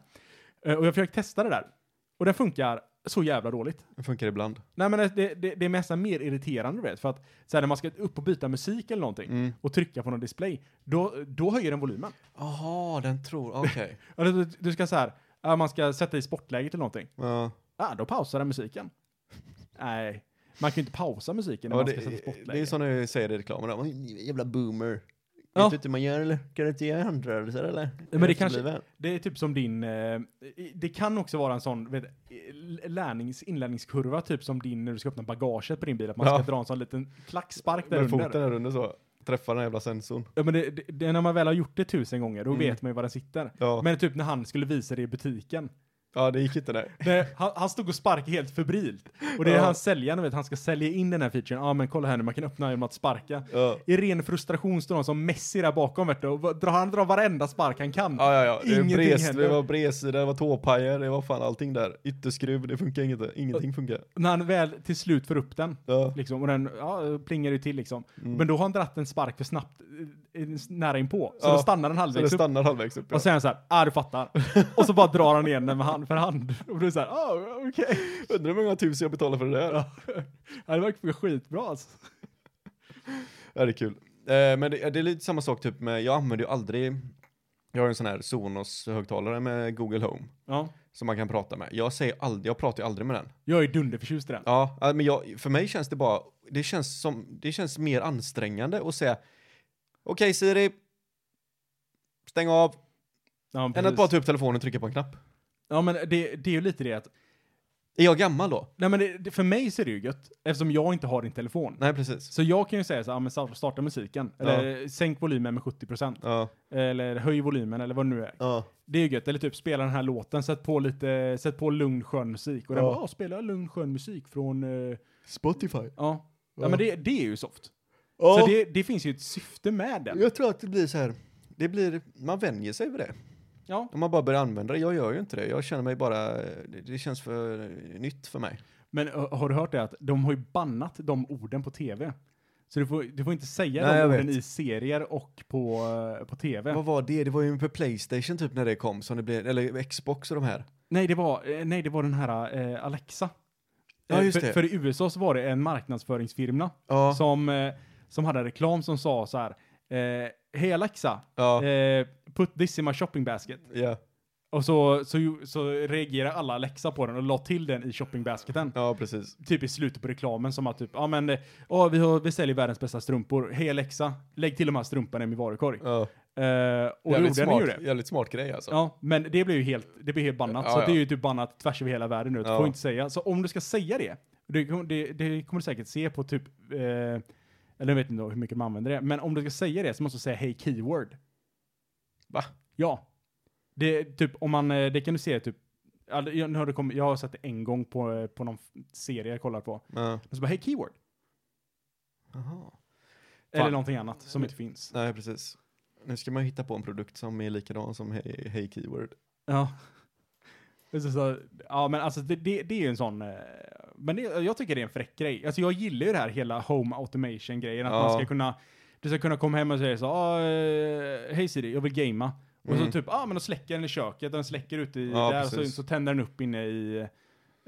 [SPEAKER 2] Eh, och jag försökte testa det där. Och den funkar så jävla dåligt.
[SPEAKER 3] Den funkar ibland.
[SPEAKER 2] Nej men det, det, det är nästan mer irriterande du vet, för att så här, när man ska upp och byta musik eller någonting
[SPEAKER 3] Mm.
[SPEAKER 2] och trycka på någon display, då, då höjer den volymen.
[SPEAKER 3] Jaha, den tror, okej.
[SPEAKER 2] Eller du, du ska så här, ja, man ska sätta i sportläget eller någonting,
[SPEAKER 3] ja.
[SPEAKER 2] ah, då pausar den musiken. Nej, man kan ju inte pausa musiken när
[SPEAKER 3] Ja,
[SPEAKER 2] man
[SPEAKER 3] det,
[SPEAKER 2] ska sätta
[SPEAKER 3] det
[SPEAKER 2] sportläge.
[SPEAKER 3] är ju som när jag säger det i reklamen, "Åh, jävla boomer.
[SPEAKER 2] Ja.
[SPEAKER 3] Vet du inte hur man gör eller? Kan du inte göra handrörelser eller?
[SPEAKER 2] men det kanske-
[SPEAKER 3] Efterbliven."
[SPEAKER 2] Det är typ som din, eh, i- det kan också vara en sån vet, l- lärnings, inlärningskurva, typ som din när du ska öppna bagaget på din bil, att man
[SPEAKER 3] Ja.
[SPEAKER 2] ska dra en sån liten klackspark där
[SPEAKER 3] Med foten
[SPEAKER 2] under.
[SPEAKER 3] här under så, träffar den här jävla sensorn.
[SPEAKER 2] Ja, men det, det, det, när man väl har gjort det tusen gånger, då
[SPEAKER 3] Mm.
[SPEAKER 2] vet man ju var den sitter.
[SPEAKER 3] Ja,
[SPEAKER 2] Men typ när han skulle visa det i butiken.
[SPEAKER 3] ja det gick inte där.
[SPEAKER 2] Det, han, han stod och sparkade helt febrilt. Och det är
[SPEAKER 3] Ja.
[SPEAKER 2] hans säljare, vet, han ska sälja in den här featuren. Ja ah, men kolla här nu, man kan öppna genom att sparka.
[SPEAKER 3] Ja,
[SPEAKER 2] I ren frustration står någon som Messi där bakom vet du, och drar, han drar varenda spark han kan.
[SPEAKER 3] ja, ja. ja. Det, var
[SPEAKER 2] Ingenting
[SPEAKER 3] bres,
[SPEAKER 2] händer.
[SPEAKER 3] det var bredsida, det var tåpajer, det var fan allting där. Ytterskruv, det funkar inget, ingenting funkar.
[SPEAKER 2] När han väl till slut får upp den,
[SPEAKER 3] Ja,
[SPEAKER 2] Liksom, och den ja, plingar ju till liksom.
[SPEAKER 3] Mm.
[SPEAKER 2] Men då har han dratt en spark för snabbt eh, eh, nära inpå. Så
[SPEAKER 3] Ja.
[SPEAKER 2] då stannar den
[SPEAKER 3] så det
[SPEAKER 2] halvvägs upp.
[SPEAKER 3] stannar halvvägs upp. Ja.
[SPEAKER 2] Och sen så här, ah du fattar. och så bara drar han igen den med hand för hand. Och då är det så här, ah okej.
[SPEAKER 3] Undrar hur många tusen jag betalar för det där.
[SPEAKER 2] Ja. Ja, det verkar funka skitbra alltså.
[SPEAKER 3] Ja, det är kul. Eh, men det, det är lite samma sak typ med, jag använder ju aldrig, jag har ju en sån här Sonos-högtalare med Google Home
[SPEAKER 2] Ja.
[SPEAKER 3] som man kan prata med. Jag säger aldrig, jag pratar ju aldrig med den.
[SPEAKER 2] Jag är dunderförtjust i den.
[SPEAKER 3] Ja, ja, men jag, för mig känns det bara, det känns som, det känns mer ansträngande att säga okej Siri, stäng av,
[SPEAKER 2] Ja,
[SPEAKER 3] än att bara
[SPEAKER 2] precis.
[SPEAKER 3] ta upp telefonen och trycka på en knapp.
[SPEAKER 2] ja men det, det är ju lite det att,
[SPEAKER 3] Är jag gammal då?
[SPEAKER 2] nej men det, det, för mig ser det ju gött. Eftersom jag inte har din telefon.
[SPEAKER 3] Nej, precis.
[SPEAKER 2] Så jag kan ju säga så här, ah, men sta- starta musiken. Eller sänk volymen med 70%.
[SPEAKER 3] Ja,
[SPEAKER 2] Eller höj volymen eller vad det nu är.
[SPEAKER 3] ja,
[SPEAKER 2] Det är ju gött, eller typ spela den här låten, sätt på lite, sätt på lugn skön musik. Och den
[SPEAKER 3] Ja.
[SPEAKER 2] bara, "Ah, spela lugn skön musik från, eh,
[SPEAKER 3] Spotify.
[SPEAKER 2] ja. Ja
[SPEAKER 3] Ja.
[SPEAKER 2] men det, det är ju soft.
[SPEAKER 3] Ja,
[SPEAKER 2] Så det, det finns ju ett syfte med den.
[SPEAKER 3] jag tror att det blir så här, det blir, man vänjer sig vid det.
[SPEAKER 1] Ja.
[SPEAKER 3] Om man bara börjar använda det. Jag gör ju inte det. Jag känner mig bara, det, det känns för eh, nytt för mig.
[SPEAKER 2] Men ö, har du hört det att de har ju bannat de orden på tv? Så du får, du får inte säga
[SPEAKER 3] Nej, jag
[SPEAKER 2] de orden
[SPEAKER 3] vet.
[SPEAKER 2] i serier och på, eh, på tv.
[SPEAKER 3] Vad var det? Det var ju på Playstation typ när det kom, som det blev, eller Xbox och de här.
[SPEAKER 2] Nej, det var, eh, nej, det var den här eh, Alexa.
[SPEAKER 3] Ja,
[SPEAKER 2] Eh,
[SPEAKER 3] just
[SPEAKER 2] för,
[SPEAKER 3] det.
[SPEAKER 2] för i USA så var det en marknadsföringsfirma
[SPEAKER 3] Ja,
[SPEAKER 2] som, eh, som hade reklam som sa så här. Eh, Hej Alexa,
[SPEAKER 3] ja,
[SPEAKER 2] eh, put this in my shopping basket.
[SPEAKER 3] ja,
[SPEAKER 2] Och så, så, ju- så reagerade alla Alexa på den och la till den i shoppingbasketen.
[SPEAKER 3] ja, precis.
[SPEAKER 2] Typ i slutet på reklamen som att typ, ja men, eh, ja vi, har, vi säljer världens bästa strumpor. Hej Alexa, lägg till de här strumporna i min varukorg.
[SPEAKER 3] Ja.
[SPEAKER 2] Eh, och då
[SPEAKER 3] Jävligt
[SPEAKER 2] gjorde den
[SPEAKER 3] smart,
[SPEAKER 2] ju det.
[SPEAKER 3] Jävligt smart grej alltså.
[SPEAKER 2] Ja, men det blev ju helt, det blev helt bannat.
[SPEAKER 3] Ja,
[SPEAKER 2] så
[SPEAKER 3] ja.
[SPEAKER 2] det är ju typ bannat tvärs över hela världen nu. Du
[SPEAKER 3] Ja.
[SPEAKER 2] får inte säga. Så om du ska säga det, det, kommer- det, det kommer du säkert se på typ, eh, eller jag vet inte hur mycket man använder det, men om du ska säga det så måste du säga hej keyword.
[SPEAKER 3] Va?
[SPEAKER 2] Ja. Det, är typ, om man, eh, det kan du se typ, all- jag, nu har det kommit, jag har sett det en gång på, eh, på någon f- serie jag kollar på.
[SPEAKER 3] Ja.
[SPEAKER 2] Och så bara hej keyword.
[SPEAKER 3] Jaha.
[SPEAKER 2] Eller
[SPEAKER 3] Fan.
[SPEAKER 2] någonting annat som inte finns.
[SPEAKER 3] Nej, precis. Nu ska man hitta på en produkt som är likadan som Hey, hey Keyword.
[SPEAKER 2] Ja. Och Så, så, ja, men alltså det, det, det är ju en sån... eh, Men det, jag tycker det är en fräck grej. Alltså jag gillar ju det här hela home automation-grejen. Att
[SPEAKER 3] Ja.
[SPEAKER 2] man ska kunna... Du ska kunna komma hem och säga så ah, eh, Hej Siri, jag vill gamea. Och
[SPEAKER 3] Mm.
[SPEAKER 2] så typ, ja ah, men då släcker den i köket, den släcker ute i
[SPEAKER 3] Ja,
[SPEAKER 2] där, och så,
[SPEAKER 3] precis.
[SPEAKER 2] så tänder den upp inne i...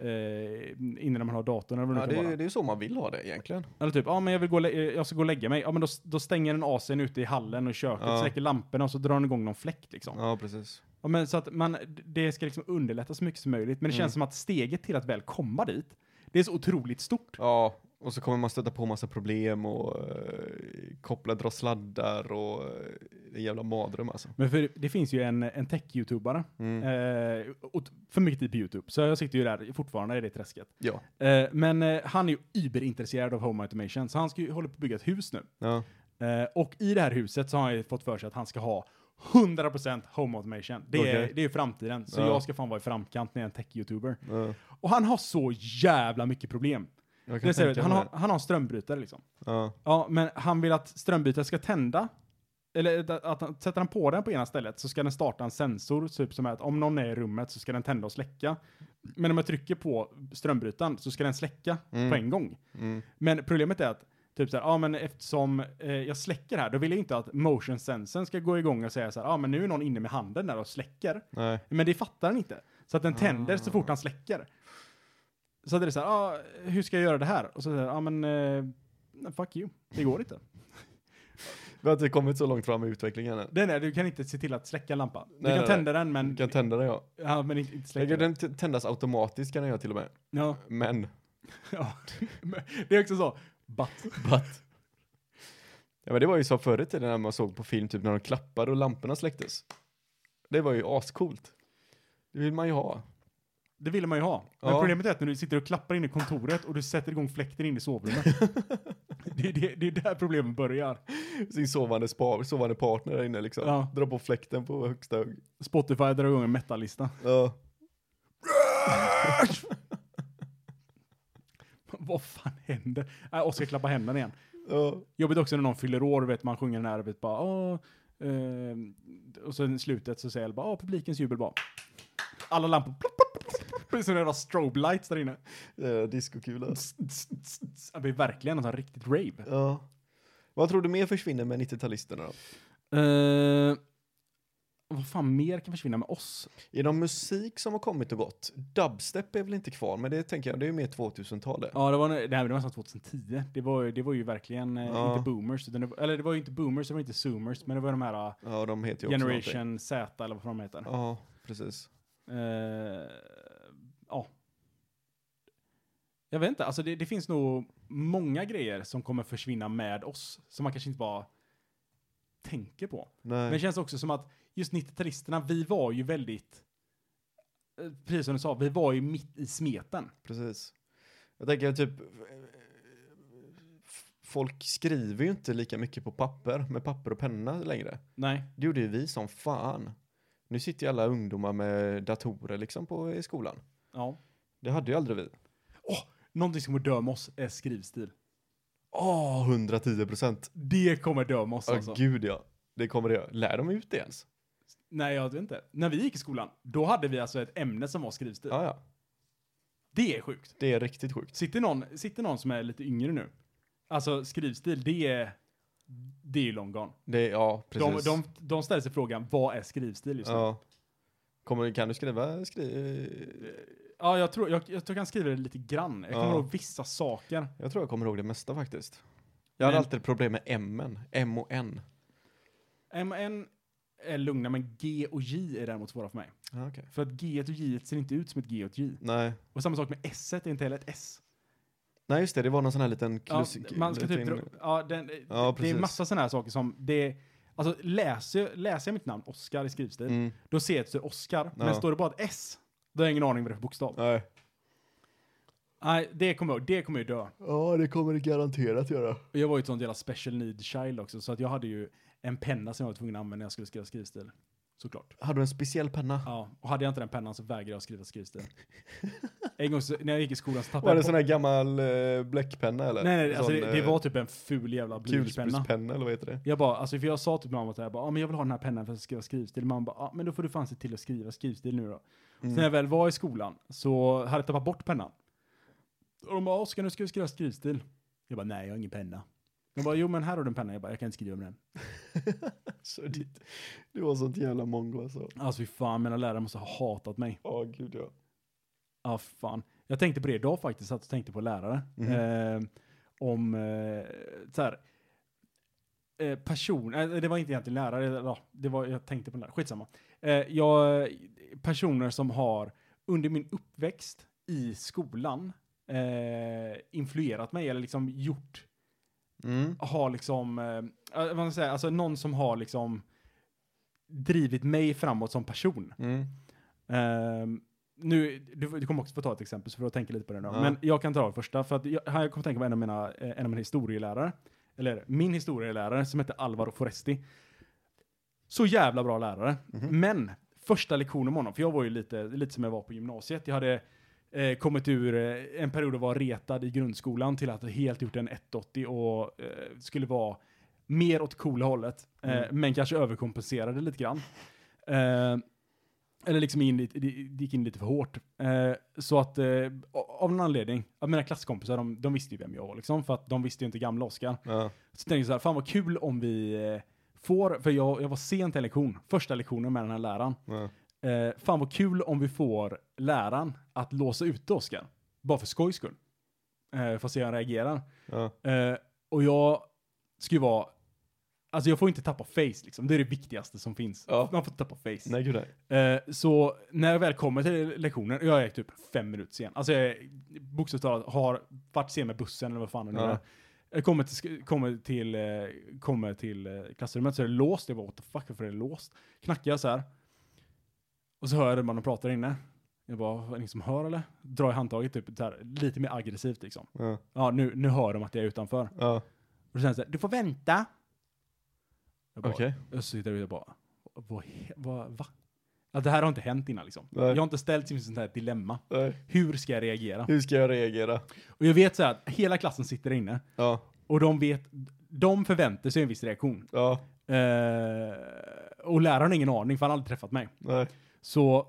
[SPEAKER 2] Eh, innan man har datorn eller vad det
[SPEAKER 3] Ja,
[SPEAKER 2] nu
[SPEAKER 3] det,
[SPEAKER 2] kan
[SPEAKER 3] är-
[SPEAKER 2] vara.
[SPEAKER 3] det är ju så man vill ha det egentligen.
[SPEAKER 2] Eller typ, ja ah, men jag vill gå och lä- eh, jag ska gå och lägga mig. Ja men då, då stänger den AC'n ute i hallen och i köket,
[SPEAKER 3] Ja.
[SPEAKER 2] släcker lamporna och så drar den igång någon fläkt liksom.
[SPEAKER 3] Ja, precis.
[SPEAKER 2] Ja, men så att man, det ska liksom underlätta så mycket som möjligt, men det
[SPEAKER 3] Mm.
[SPEAKER 2] känns som att steget till att väl komma dit, det är så otroligt stort.
[SPEAKER 3] Ja, och så kommer man stöta på massa problem och eh, koppla, dra sladdar och eh, det är en jävla madröm alltså.
[SPEAKER 2] Men för det finns ju en, en tech-youtubare,
[SPEAKER 3] Mm.
[SPEAKER 2] eh, och t- för mycket tid på youtube, så jag sitter ju där fortfarande i det träsket.
[SPEAKER 3] Ja.
[SPEAKER 2] Eh, men eh, han är ju überintresserad av home automation, så han ska ju, håller på att bygga ett hus nu.
[SPEAKER 3] ja.
[SPEAKER 2] Eh, och i det här huset så har han ju fått för sig att han ska ha 100% home automation. Det är,
[SPEAKER 3] Okej.
[SPEAKER 2] det är ju framtiden, så
[SPEAKER 3] Ja.
[SPEAKER 2] jag ska fan vara i framkant när jag är en tech-youtuber.
[SPEAKER 3] ja.
[SPEAKER 2] Och han har så jävla mycket problem.
[SPEAKER 3] Jag kan
[SPEAKER 2] Det säger,
[SPEAKER 3] tänka
[SPEAKER 2] jag, han,
[SPEAKER 3] mig
[SPEAKER 2] har, han har en strömbrytare liksom.
[SPEAKER 3] det. Ja.
[SPEAKER 2] Ja, men han vill att strömbytaren ska tända. Eller att, att han, sätter han på den på ena stället så ska den starta en sensor, typ som är att om någon är i rummet så ska den tända och släcka. Men om jag trycker på strömbrytaren så ska den släcka
[SPEAKER 3] Mm.
[SPEAKER 2] på en gång.
[SPEAKER 3] Mm.
[SPEAKER 2] Men problemet är att typ så här, ja men eftersom eh, jag släcker här, då vill jag inte att motion sensorn ska gå igång och säga så här, ja men nu är någon inne med handen där och släcker.
[SPEAKER 3] Nej.
[SPEAKER 2] Men det fattar han inte. Så att den tänder så fort han
[SPEAKER 3] Ah.
[SPEAKER 2] släcker. Så hade det så här, ah, hur ska jag göra det här? Och så säger ja ah, men, eh, fuck you. Det går inte.
[SPEAKER 3] Vi har inte kommit så långt fram i utvecklingen än.
[SPEAKER 2] Den är, du kan inte se till att släcka en lampa. Du
[SPEAKER 3] Nej,
[SPEAKER 2] kan
[SPEAKER 3] nej,
[SPEAKER 2] tända den men,
[SPEAKER 3] Du kan tända den ja.
[SPEAKER 2] ja, men inte, inte släcka
[SPEAKER 3] Jag-
[SPEAKER 2] den.
[SPEAKER 3] Den t- tändas automatiskt kan den göra till och med.
[SPEAKER 2] Ja,
[SPEAKER 3] Men.
[SPEAKER 2] ja. Men det är också så, but.
[SPEAKER 3] But. Ja men det var ju så förr i tiden när man såg på film typ när de klappade och lamporna släcktes. Det var ju ascoolt. Det vill man ju ha.
[SPEAKER 2] Det ville man ju ha. Men
[SPEAKER 3] Ja.
[SPEAKER 2] problemet är att när du sitter och klappar in i kontoret och du sätter igång fläkten in i sovrummet. det, är det, det är där problemen börjar.
[SPEAKER 3] Sin sovande, spa, sovande partner där inne liksom.
[SPEAKER 2] Ja.
[SPEAKER 3] Dra på fläkten på högsta hugg.
[SPEAKER 2] Spotify drar igång en metallista.
[SPEAKER 3] Ja.
[SPEAKER 2] Vad fan händer? Äh, Oskar klappar händerna igen.
[SPEAKER 3] Ja.
[SPEAKER 2] Jobbigt också när någon fyller år, vet man sjunger den här vet, bara åh, eh, och sen i slutet så säger alla bara åh, publikens jubel bara. Alla lampor plopp, plopp, plopp, plopp, plopp, som jävla strobe lights där inne.
[SPEAKER 3] Eh, Diskokula.
[SPEAKER 2] Det blir verkligen en sån riktigt rave.
[SPEAKER 3] Ja. Vad tror du mer försvinner med 90-talisterna då?
[SPEAKER 2] Eh, vad fan mer kan försvinna med oss?
[SPEAKER 3] Är de musik som har kommit och gått? Dubstep är väl inte kvar, men det tänker jag, det är ju mer 2000-tal det.
[SPEAKER 2] Ja, det var, nej, men det var nästan 2010. Det var, ju- det var ju verkligen eh,
[SPEAKER 3] Ja.
[SPEAKER 2] inte boomers, utan det, var- eller det var ju inte boomers, det var inte zoomers, men det var de här eh,
[SPEAKER 3] Ja, de heter ju också någonting.
[SPEAKER 2] generation Z eller vad fan de heter.
[SPEAKER 3] Ja, precis.
[SPEAKER 2] Eh, ja. Jag vet inte, alltså det, det finns nog många grejer som kommer försvinna med oss, som man kanske inte bara tänker på.
[SPEAKER 3] Nej.
[SPEAKER 2] Men det känns också som att just 90-talisterna, vi var ju väldigt, eh, precis som du sa, vi var ju mitt i smeten.
[SPEAKER 3] Precis. Jag tänker typ, eh, f- folk skriver ju inte lika mycket på papper, med papper och penna längre.
[SPEAKER 2] Nej.
[SPEAKER 3] Det gjorde ju vi som fan. Nu sitter ju alla ungdomar med datorer liksom på, i skolan.
[SPEAKER 2] Ja.
[SPEAKER 3] Det hade ju aldrig vi.
[SPEAKER 2] Någonting som kommer döma oss är skrivstil.
[SPEAKER 3] Åh, 110 procent.
[SPEAKER 2] Det kommer döma oss
[SPEAKER 3] Åh
[SPEAKER 2] alltså.
[SPEAKER 3] gud ja. Det kommer det göra. Lär de ut det ens?
[SPEAKER 2] Nej, jag vet inte. När vi gick i skolan, då hade vi alltså ett ämne som var skrivstil.
[SPEAKER 3] Ja, ja.
[SPEAKER 2] Det är sjukt.
[SPEAKER 3] Det är riktigt sjukt.
[SPEAKER 2] Sitter någon, sitter någon som är lite yngre nu? Alltså skrivstil, det är, det är ju long gone.
[SPEAKER 3] Det är, ja,
[SPEAKER 2] De,
[SPEAKER 3] precis.
[SPEAKER 2] de, de ställer sig frågan, vad är skrivstil just nu? Ja,
[SPEAKER 3] ja. Kommer, du- kan du skriva? Skri...
[SPEAKER 2] jag, tror, jag, jag tror jag kan skriva det lite grann. Jag
[SPEAKER 3] Ja.
[SPEAKER 2] kommer ihåg vissa saker.
[SPEAKER 3] Jag tror jag kommer ihåg det mesta faktiskt. Jag hade
[SPEAKER 2] Men-
[SPEAKER 3] alltid problem med M-en. M och N.
[SPEAKER 2] MN är lugna, men G och J är däremot svåra för mig.
[SPEAKER 3] Ja, okej.
[SPEAKER 2] För att G och J ser inte ut som ett G och ett J.
[SPEAKER 3] Nej.
[SPEAKER 2] Och samma sak med S är inte heller ett S.
[SPEAKER 3] Nej, just det. Det var någon sån här liten
[SPEAKER 2] Ja,
[SPEAKER 3] klus...
[SPEAKER 2] man ska typ
[SPEAKER 3] liten-
[SPEAKER 2] dra, ja, den,
[SPEAKER 3] Ja,
[SPEAKER 2] det är
[SPEAKER 3] precis.
[SPEAKER 2] massa sådana här saker som det Alltså läser, jag- läser jag mitt namn, Oscar i skrivstil,
[SPEAKER 3] Mm.
[SPEAKER 2] då ser jag att det står Oscar. Men
[SPEAKER 3] Ja.
[SPEAKER 2] står det bara ett S, då har jag ingen aning vad det är för bokstav.
[SPEAKER 3] Nej.
[SPEAKER 2] Nej, det kommer jag Det kommer ju dö.
[SPEAKER 3] Ja, det kommer det garanterat göra.
[SPEAKER 2] Och jag var ju ett sånt jävla special need child också, så att jag hade ju en penna som jag var tvungen att använda när jag skulle skriva skrivstil. Såklart.
[SPEAKER 3] Hade du en speciell penna?
[SPEAKER 2] Ja, och hade jag inte den pennan så vägrade jag skriva skrivstil. en gång så, när jag gick i skolan så
[SPEAKER 3] Var
[SPEAKER 2] tappade
[SPEAKER 3] det
[SPEAKER 2] jag...
[SPEAKER 3] sån här gammal eh, bläckpenna eller?
[SPEAKER 2] nej, nej, alltså
[SPEAKER 3] Sån,
[SPEAKER 2] det, det
[SPEAKER 3] eh,
[SPEAKER 2] var typ en ful jävla blyertspenna.
[SPEAKER 3] Kulsprutspenna eller vad heter det?
[SPEAKER 2] Jag bara, alltså för jag sa till mamma att jag bara, ah, men jag vill ha den här pennan för att skriva skrivstil. Mamma bara, ah, men då får du fan se till att skriva skrivstil nu då.
[SPEAKER 3] Mm.
[SPEAKER 2] Sen när jag väl var i skolan så hade jag tappat bort pennan. Och de bara, Oskar nu ska du skriva skrivstil. Jag bara, nej jag har ingen penna. De bara, jo men här har du en penna. Jag bara, jag kan inte skriva med den.
[SPEAKER 3] Så ditt, du var sånt jävla mongo alltså.
[SPEAKER 2] Alltså fy fan, mina lärare måste ha hatat mig.
[SPEAKER 3] Ja, gud ja.
[SPEAKER 2] Ja, ah, fan. Jag tänkte på det idag faktiskt, att jag tänkte på lärare. Eh, om, eh, så här, eh, person, eh, det var inte egentligen lärare, eller, ja, det var, jag tänkte på lärare, skitsamma. Eh, jag, personer som har under min uppväxt i skolan eh, influerat mig, eller liksom gjort,
[SPEAKER 3] Mm.
[SPEAKER 2] har liksom, eh, eh, vad man säger, alltså någon som har liksom drivit mig framåt som person.
[SPEAKER 3] Mm.
[SPEAKER 2] Ehm, nu, du, du kommer också få ta ett exempel, så får du tänka lite på det nu.
[SPEAKER 3] Ja.
[SPEAKER 2] Men jag kan ta det första, för att jag, här kommer jag tänka på en av mina, eh, en av mina historielärare. Eller min historielärare som hette Alvaro Foresti. Så jävla bra lärare. Men första lektionen med honom, för jag var ju lite, lite som jag var på gymnasiet. Jag hade eh, kommit ur eh, en period att vara retad i grundskolan till att ha helt gjort en 180 och eh, skulle vara mer åt coola hållet. Eh, Men kanske överkompenserade lite grann. Eh, eller liksom in, lite- det gick in lite för hårt. Eh, så att eh, av någon anledning, att mina klasskompisar, de, de visste ju vem jag var liksom, för att de visste ju inte gamla Oskar.
[SPEAKER 3] Ja.
[SPEAKER 2] Så tänkte jag så här, fan vad kul om vi eh, får, för jag, jag var sen till en lektion, första lektionen med den här läraren.
[SPEAKER 3] Ja.
[SPEAKER 2] Eh, fan vad kul om vi får läraren att låsa ut Oskar. Bara för skojs skull. Eh, för att se hur han reagerar.
[SPEAKER 3] Ja.
[SPEAKER 2] Eh, och jag ska ju vara, alltså jag får inte tappa face liksom, det är det viktigaste som finns.
[SPEAKER 3] Ja.
[SPEAKER 2] Man får inte tappa face.
[SPEAKER 3] Nej, gud nej.
[SPEAKER 2] Eh, Så när jag väl kommer till lektionen, jag är typ fem minuter sen. Alltså jag är bokstavligt talat har varit sen med bussen eller vad fan det nu
[SPEAKER 3] Ja.
[SPEAKER 2] är. Jag Eh, kommer till, sk- kommer till, eh, kommer till eh, klassrummet så är det låst. Jag bara what the fuck, varför är det låst? Knackar jag så här. Och så hör jag det man de pratar inne. Jag bara, är det ingen som hör eller? Drar i handtaget typ så här, lite mer aggressivt liksom.
[SPEAKER 3] Ja.
[SPEAKER 2] Ja, nu, nu hör de att jag är utanför.
[SPEAKER 3] Ja.
[SPEAKER 2] Och sen så här, du får vänta. Jag bara,
[SPEAKER 3] Okej.
[SPEAKER 2] och så sitter jag och bara, vad, he- vad, va? Ja, det här har inte hänt innan liksom.
[SPEAKER 3] Nej.
[SPEAKER 2] Jag har inte ställts inför sånt här dilemma.
[SPEAKER 3] Nej.
[SPEAKER 2] Hur ska jag reagera?
[SPEAKER 3] Hur ska jag reagera?
[SPEAKER 2] Och jag vet så här att hela klassen sitter där inne
[SPEAKER 3] Ja.
[SPEAKER 2] och de vet, de förväntar sig en viss reaktion.
[SPEAKER 3] Ja.
[SPEAKER 2] Eh, och läraren har ingen aning för han har aldrig träffat mig.
[SPEAKER 3] Nej.
[SPEAKER 2] Så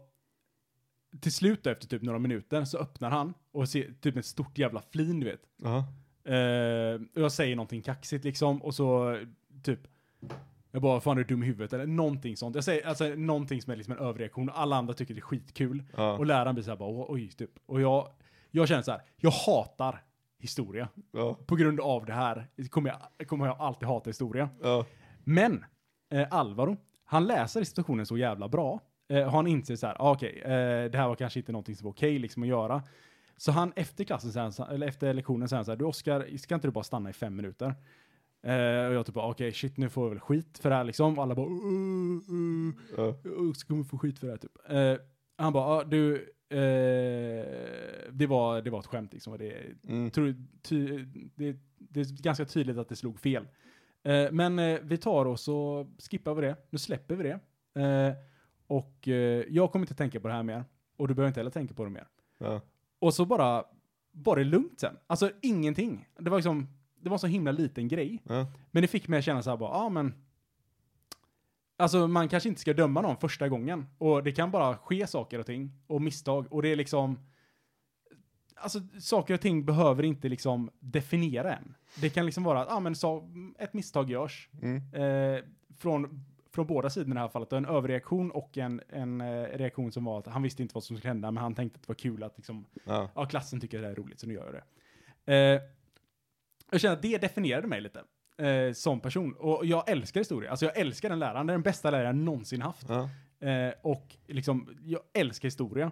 [SPEAKER 2] till slut då, efter typ några minuter så öppnar han och ser typ ett stort jävla flin du vet.
[SPEAKER 3] Ja.
[SPEAKER 2] Eh, och jag säger någonting kaxigt liksom och så eh, typ jag bara, fan är du dum i huvudet? Eller någonting sånt. Jag säger alltså någonting som är liksom en överreaktion. Alla andra tycker det är skitkul.
[SPEAKER 3] Ja.
[SPEAKER 2] Och läraren blir så här bara, "Åh, oj, typ. Och jag, jag känner så här, jag hatar historia.
[SPEAKER 3] Ja.
[SPEAKER 2] På grund av det här kommer jag, kommer jag alltid hata historia.
[SPEAKER 3] Ja.
[SPEAKER 2] Men eh, Alvaro, han läser situationen så jävla bra. Eh, och han inser så här, ah, okej, eh, det här var kanske inte någonting som var okej liksom att göra. Så han efter klassen, så här, så- eller efter lektionen, säger han så här, du Oskar, ska inte du bara stanna i fem minuter? Eh, och jag typ bara, okej, shit, nu får jag väl skit för det här liksom. Och alla bara, uh, uh,
[SPEAKER 3] Ja.
[SPEAKER 2] uh, så kommer vi få skit för det här typ. Eh, han bara, ah, du, eh, det, var, det var ett skämt liksom. Och det,
[SPEAKER 3] Mm.
[SPEAKER 2] tror, ty, det, det är ganska tydligt att det slog fel. Eh, men eh, vi tar och så skippar vi det. Nu släpper vi det. Eh, och eh, jag kommer inte tänka på det här mer. Och du behöver inte heller tänka på det mer.
[SPEAKER 3] Ja.
[SPEAKER 2] Och så bara var det lugnt sen. Alltså ingenting. Det var liksom, det var en så himla liten grej.
[SPEAKER 3] Ja.
[SPEAKER 2] Men det fick mig att känna så här bara, ja ah, men Alltså man kanske inte ska döma någon första gången. Och det kan bara ske saker och ting. Och misstag. Och det är liksom... Alltså saker och ting behöver inte liksom definiera en. Det kan liksom vara att, ah, men så, ett misstag görs.
[SPEAKER 3] Mm.
[SPEAKER 2] Eh, från, från båda sidorna i det här fallet. En överreaktion och en, en eh, reaktion som var att han visste inte vad som skulle hända, men han tänkte att det var kul att liksom,
[SPEAKER 3] Ja.
[SPEAKER 2] ja, klassen tycker det här är roligt, så nu gör jag det. Eh, jag känner att det definierade mig lite eh, som person. Och jag älskar historia. Alltså jag älskar den läraren. Det är den bästa läraren jag någonsin haft.
[SPEAKER 3] Ja.
[SPEAKER 2] Eh, och liksom, jag älskar historia.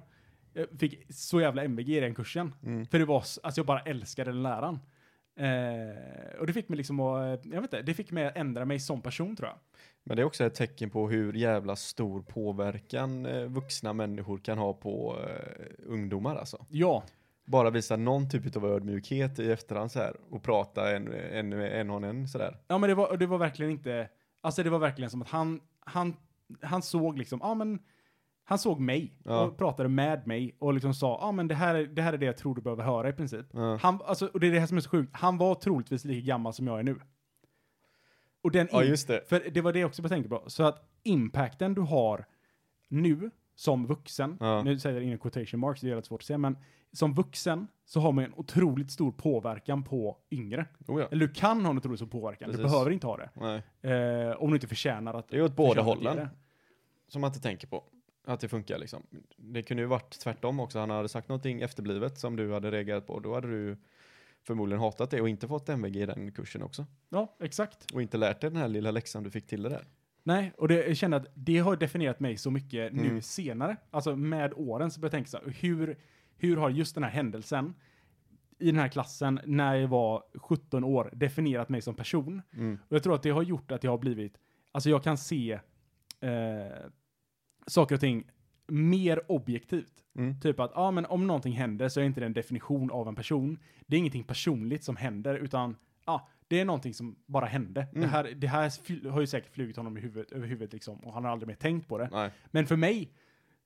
[SPEAKER 2] Jag fick så jävla MVG i den kursen.
[SPEAKER 3] Mm.
[SPEAKER 2] För det var, s- alltså jag bara älskade den läraren. Eh, och det fick mig liksom att, jag vet inte, det fick mig att ändra mig som person tror jag.
[SPEAKER 3] Men det är också ett tecken på hur jävla stor påverkan eh, vuxna människor kan ha på eh, ungdomar alltså.
[SPEAKER 2] Ja,
[SPEAKER 3] Bara visa någon typ av ödmjukhet i efterhand så här och prata en, en, en och en sådär.
[SPEAKER 2] Ja, men det var, det var verkligen inte, alltså det var verkligen som att han, han, han såg liksom, ja men, han såg mig
[SPEAKER 3] Ja.
[SPEAKER 2] och pratade med mig och liksom sa, ja men det här, är- det här är det jag tror du behöver höra i princip.
[SPEAKER 3] Ja.
[SPEAKER 2] Han, alltså, och det är det här som är så sjukt, han var troligtvis lika gammal som jag är nu. Och den,
[SPEAKER 3] Ja
[SPEAKER 2] in-
[SPEAKER 3] just det.
[SPEAKER 2] för det var det jag också tänkte på, så att impacten du har nu som vuxen,
[SPEAKER 3] Ja.
[SPEAKER 2] nu säger jag inom quotation marks, det är jävligt svårt att säga, men som vuxen så har man en otroligt stor påverkan på yngre.
[SPEAKER 3] Oh, ja.
[SPEAKER 2] Eller du kan ha en otroligt stor påverkan, du
[SPEAKER 3] Precis.
[SPEAKER 2] behöver inte ha det.
[SPEAKER 3] Nej.
[SPEAKER 2] Eh, om du inte förtjänar att...
[SPEAKER 3] Det är ju åt
[SPEAKER 2] förtjänar
[SPEAKER 3] båda
[SPEAKER 2] att
[SPEAKER 3] hållen.
[SPEAKER 2] ge det.
[SPEAKER 3] som man inte tänker på. Att det funkar liksom. Det kunde ju varit tvärtom också. Han hade sagt någonting efterblivet som du hade reagerat på. Då hade du förmodligen hatat det och inte fått MVG i den kursen också.
[SPEAKER 2] Ja, exakt.
[SPEAKER 3] Och inte lärt dig den här lilla läxan du fick till det där.
[SPEAKER 2] Nej, och det, jag känner att det har definierat mig så mycket nu
[SPEAKER 3] Mm.
[SPEAKER 2] senare. Alltså med åren så börjar jag tänka så här, hur, hur har just den här händelsen i den här klassen när jag var 17 år definierat mig som person?
[SPEAKER 3] Mm.
[SPEAKER 2] Och jag tror att det har gjort att jag har blivit, alltså jag kan se eh, saker och ting mer objektivt.
[SPEAKER 3] Mm.
[SPEAKER 2] Typ att, ja men om någonting händer så är inte det en definition av en person. Det är ingenting personligt som händer, utan ja, det är någonting som bara hände. Det
[SPEAKER 3] Mm.
[SPEAKER 2] här, det här fly- har ju säkert flugit honom i huvudet, över huvudet liksom, och han har aldrig mer tänkt på det.
[SPEAKER 3] Nej.
[SPEAKER 2] Men för mig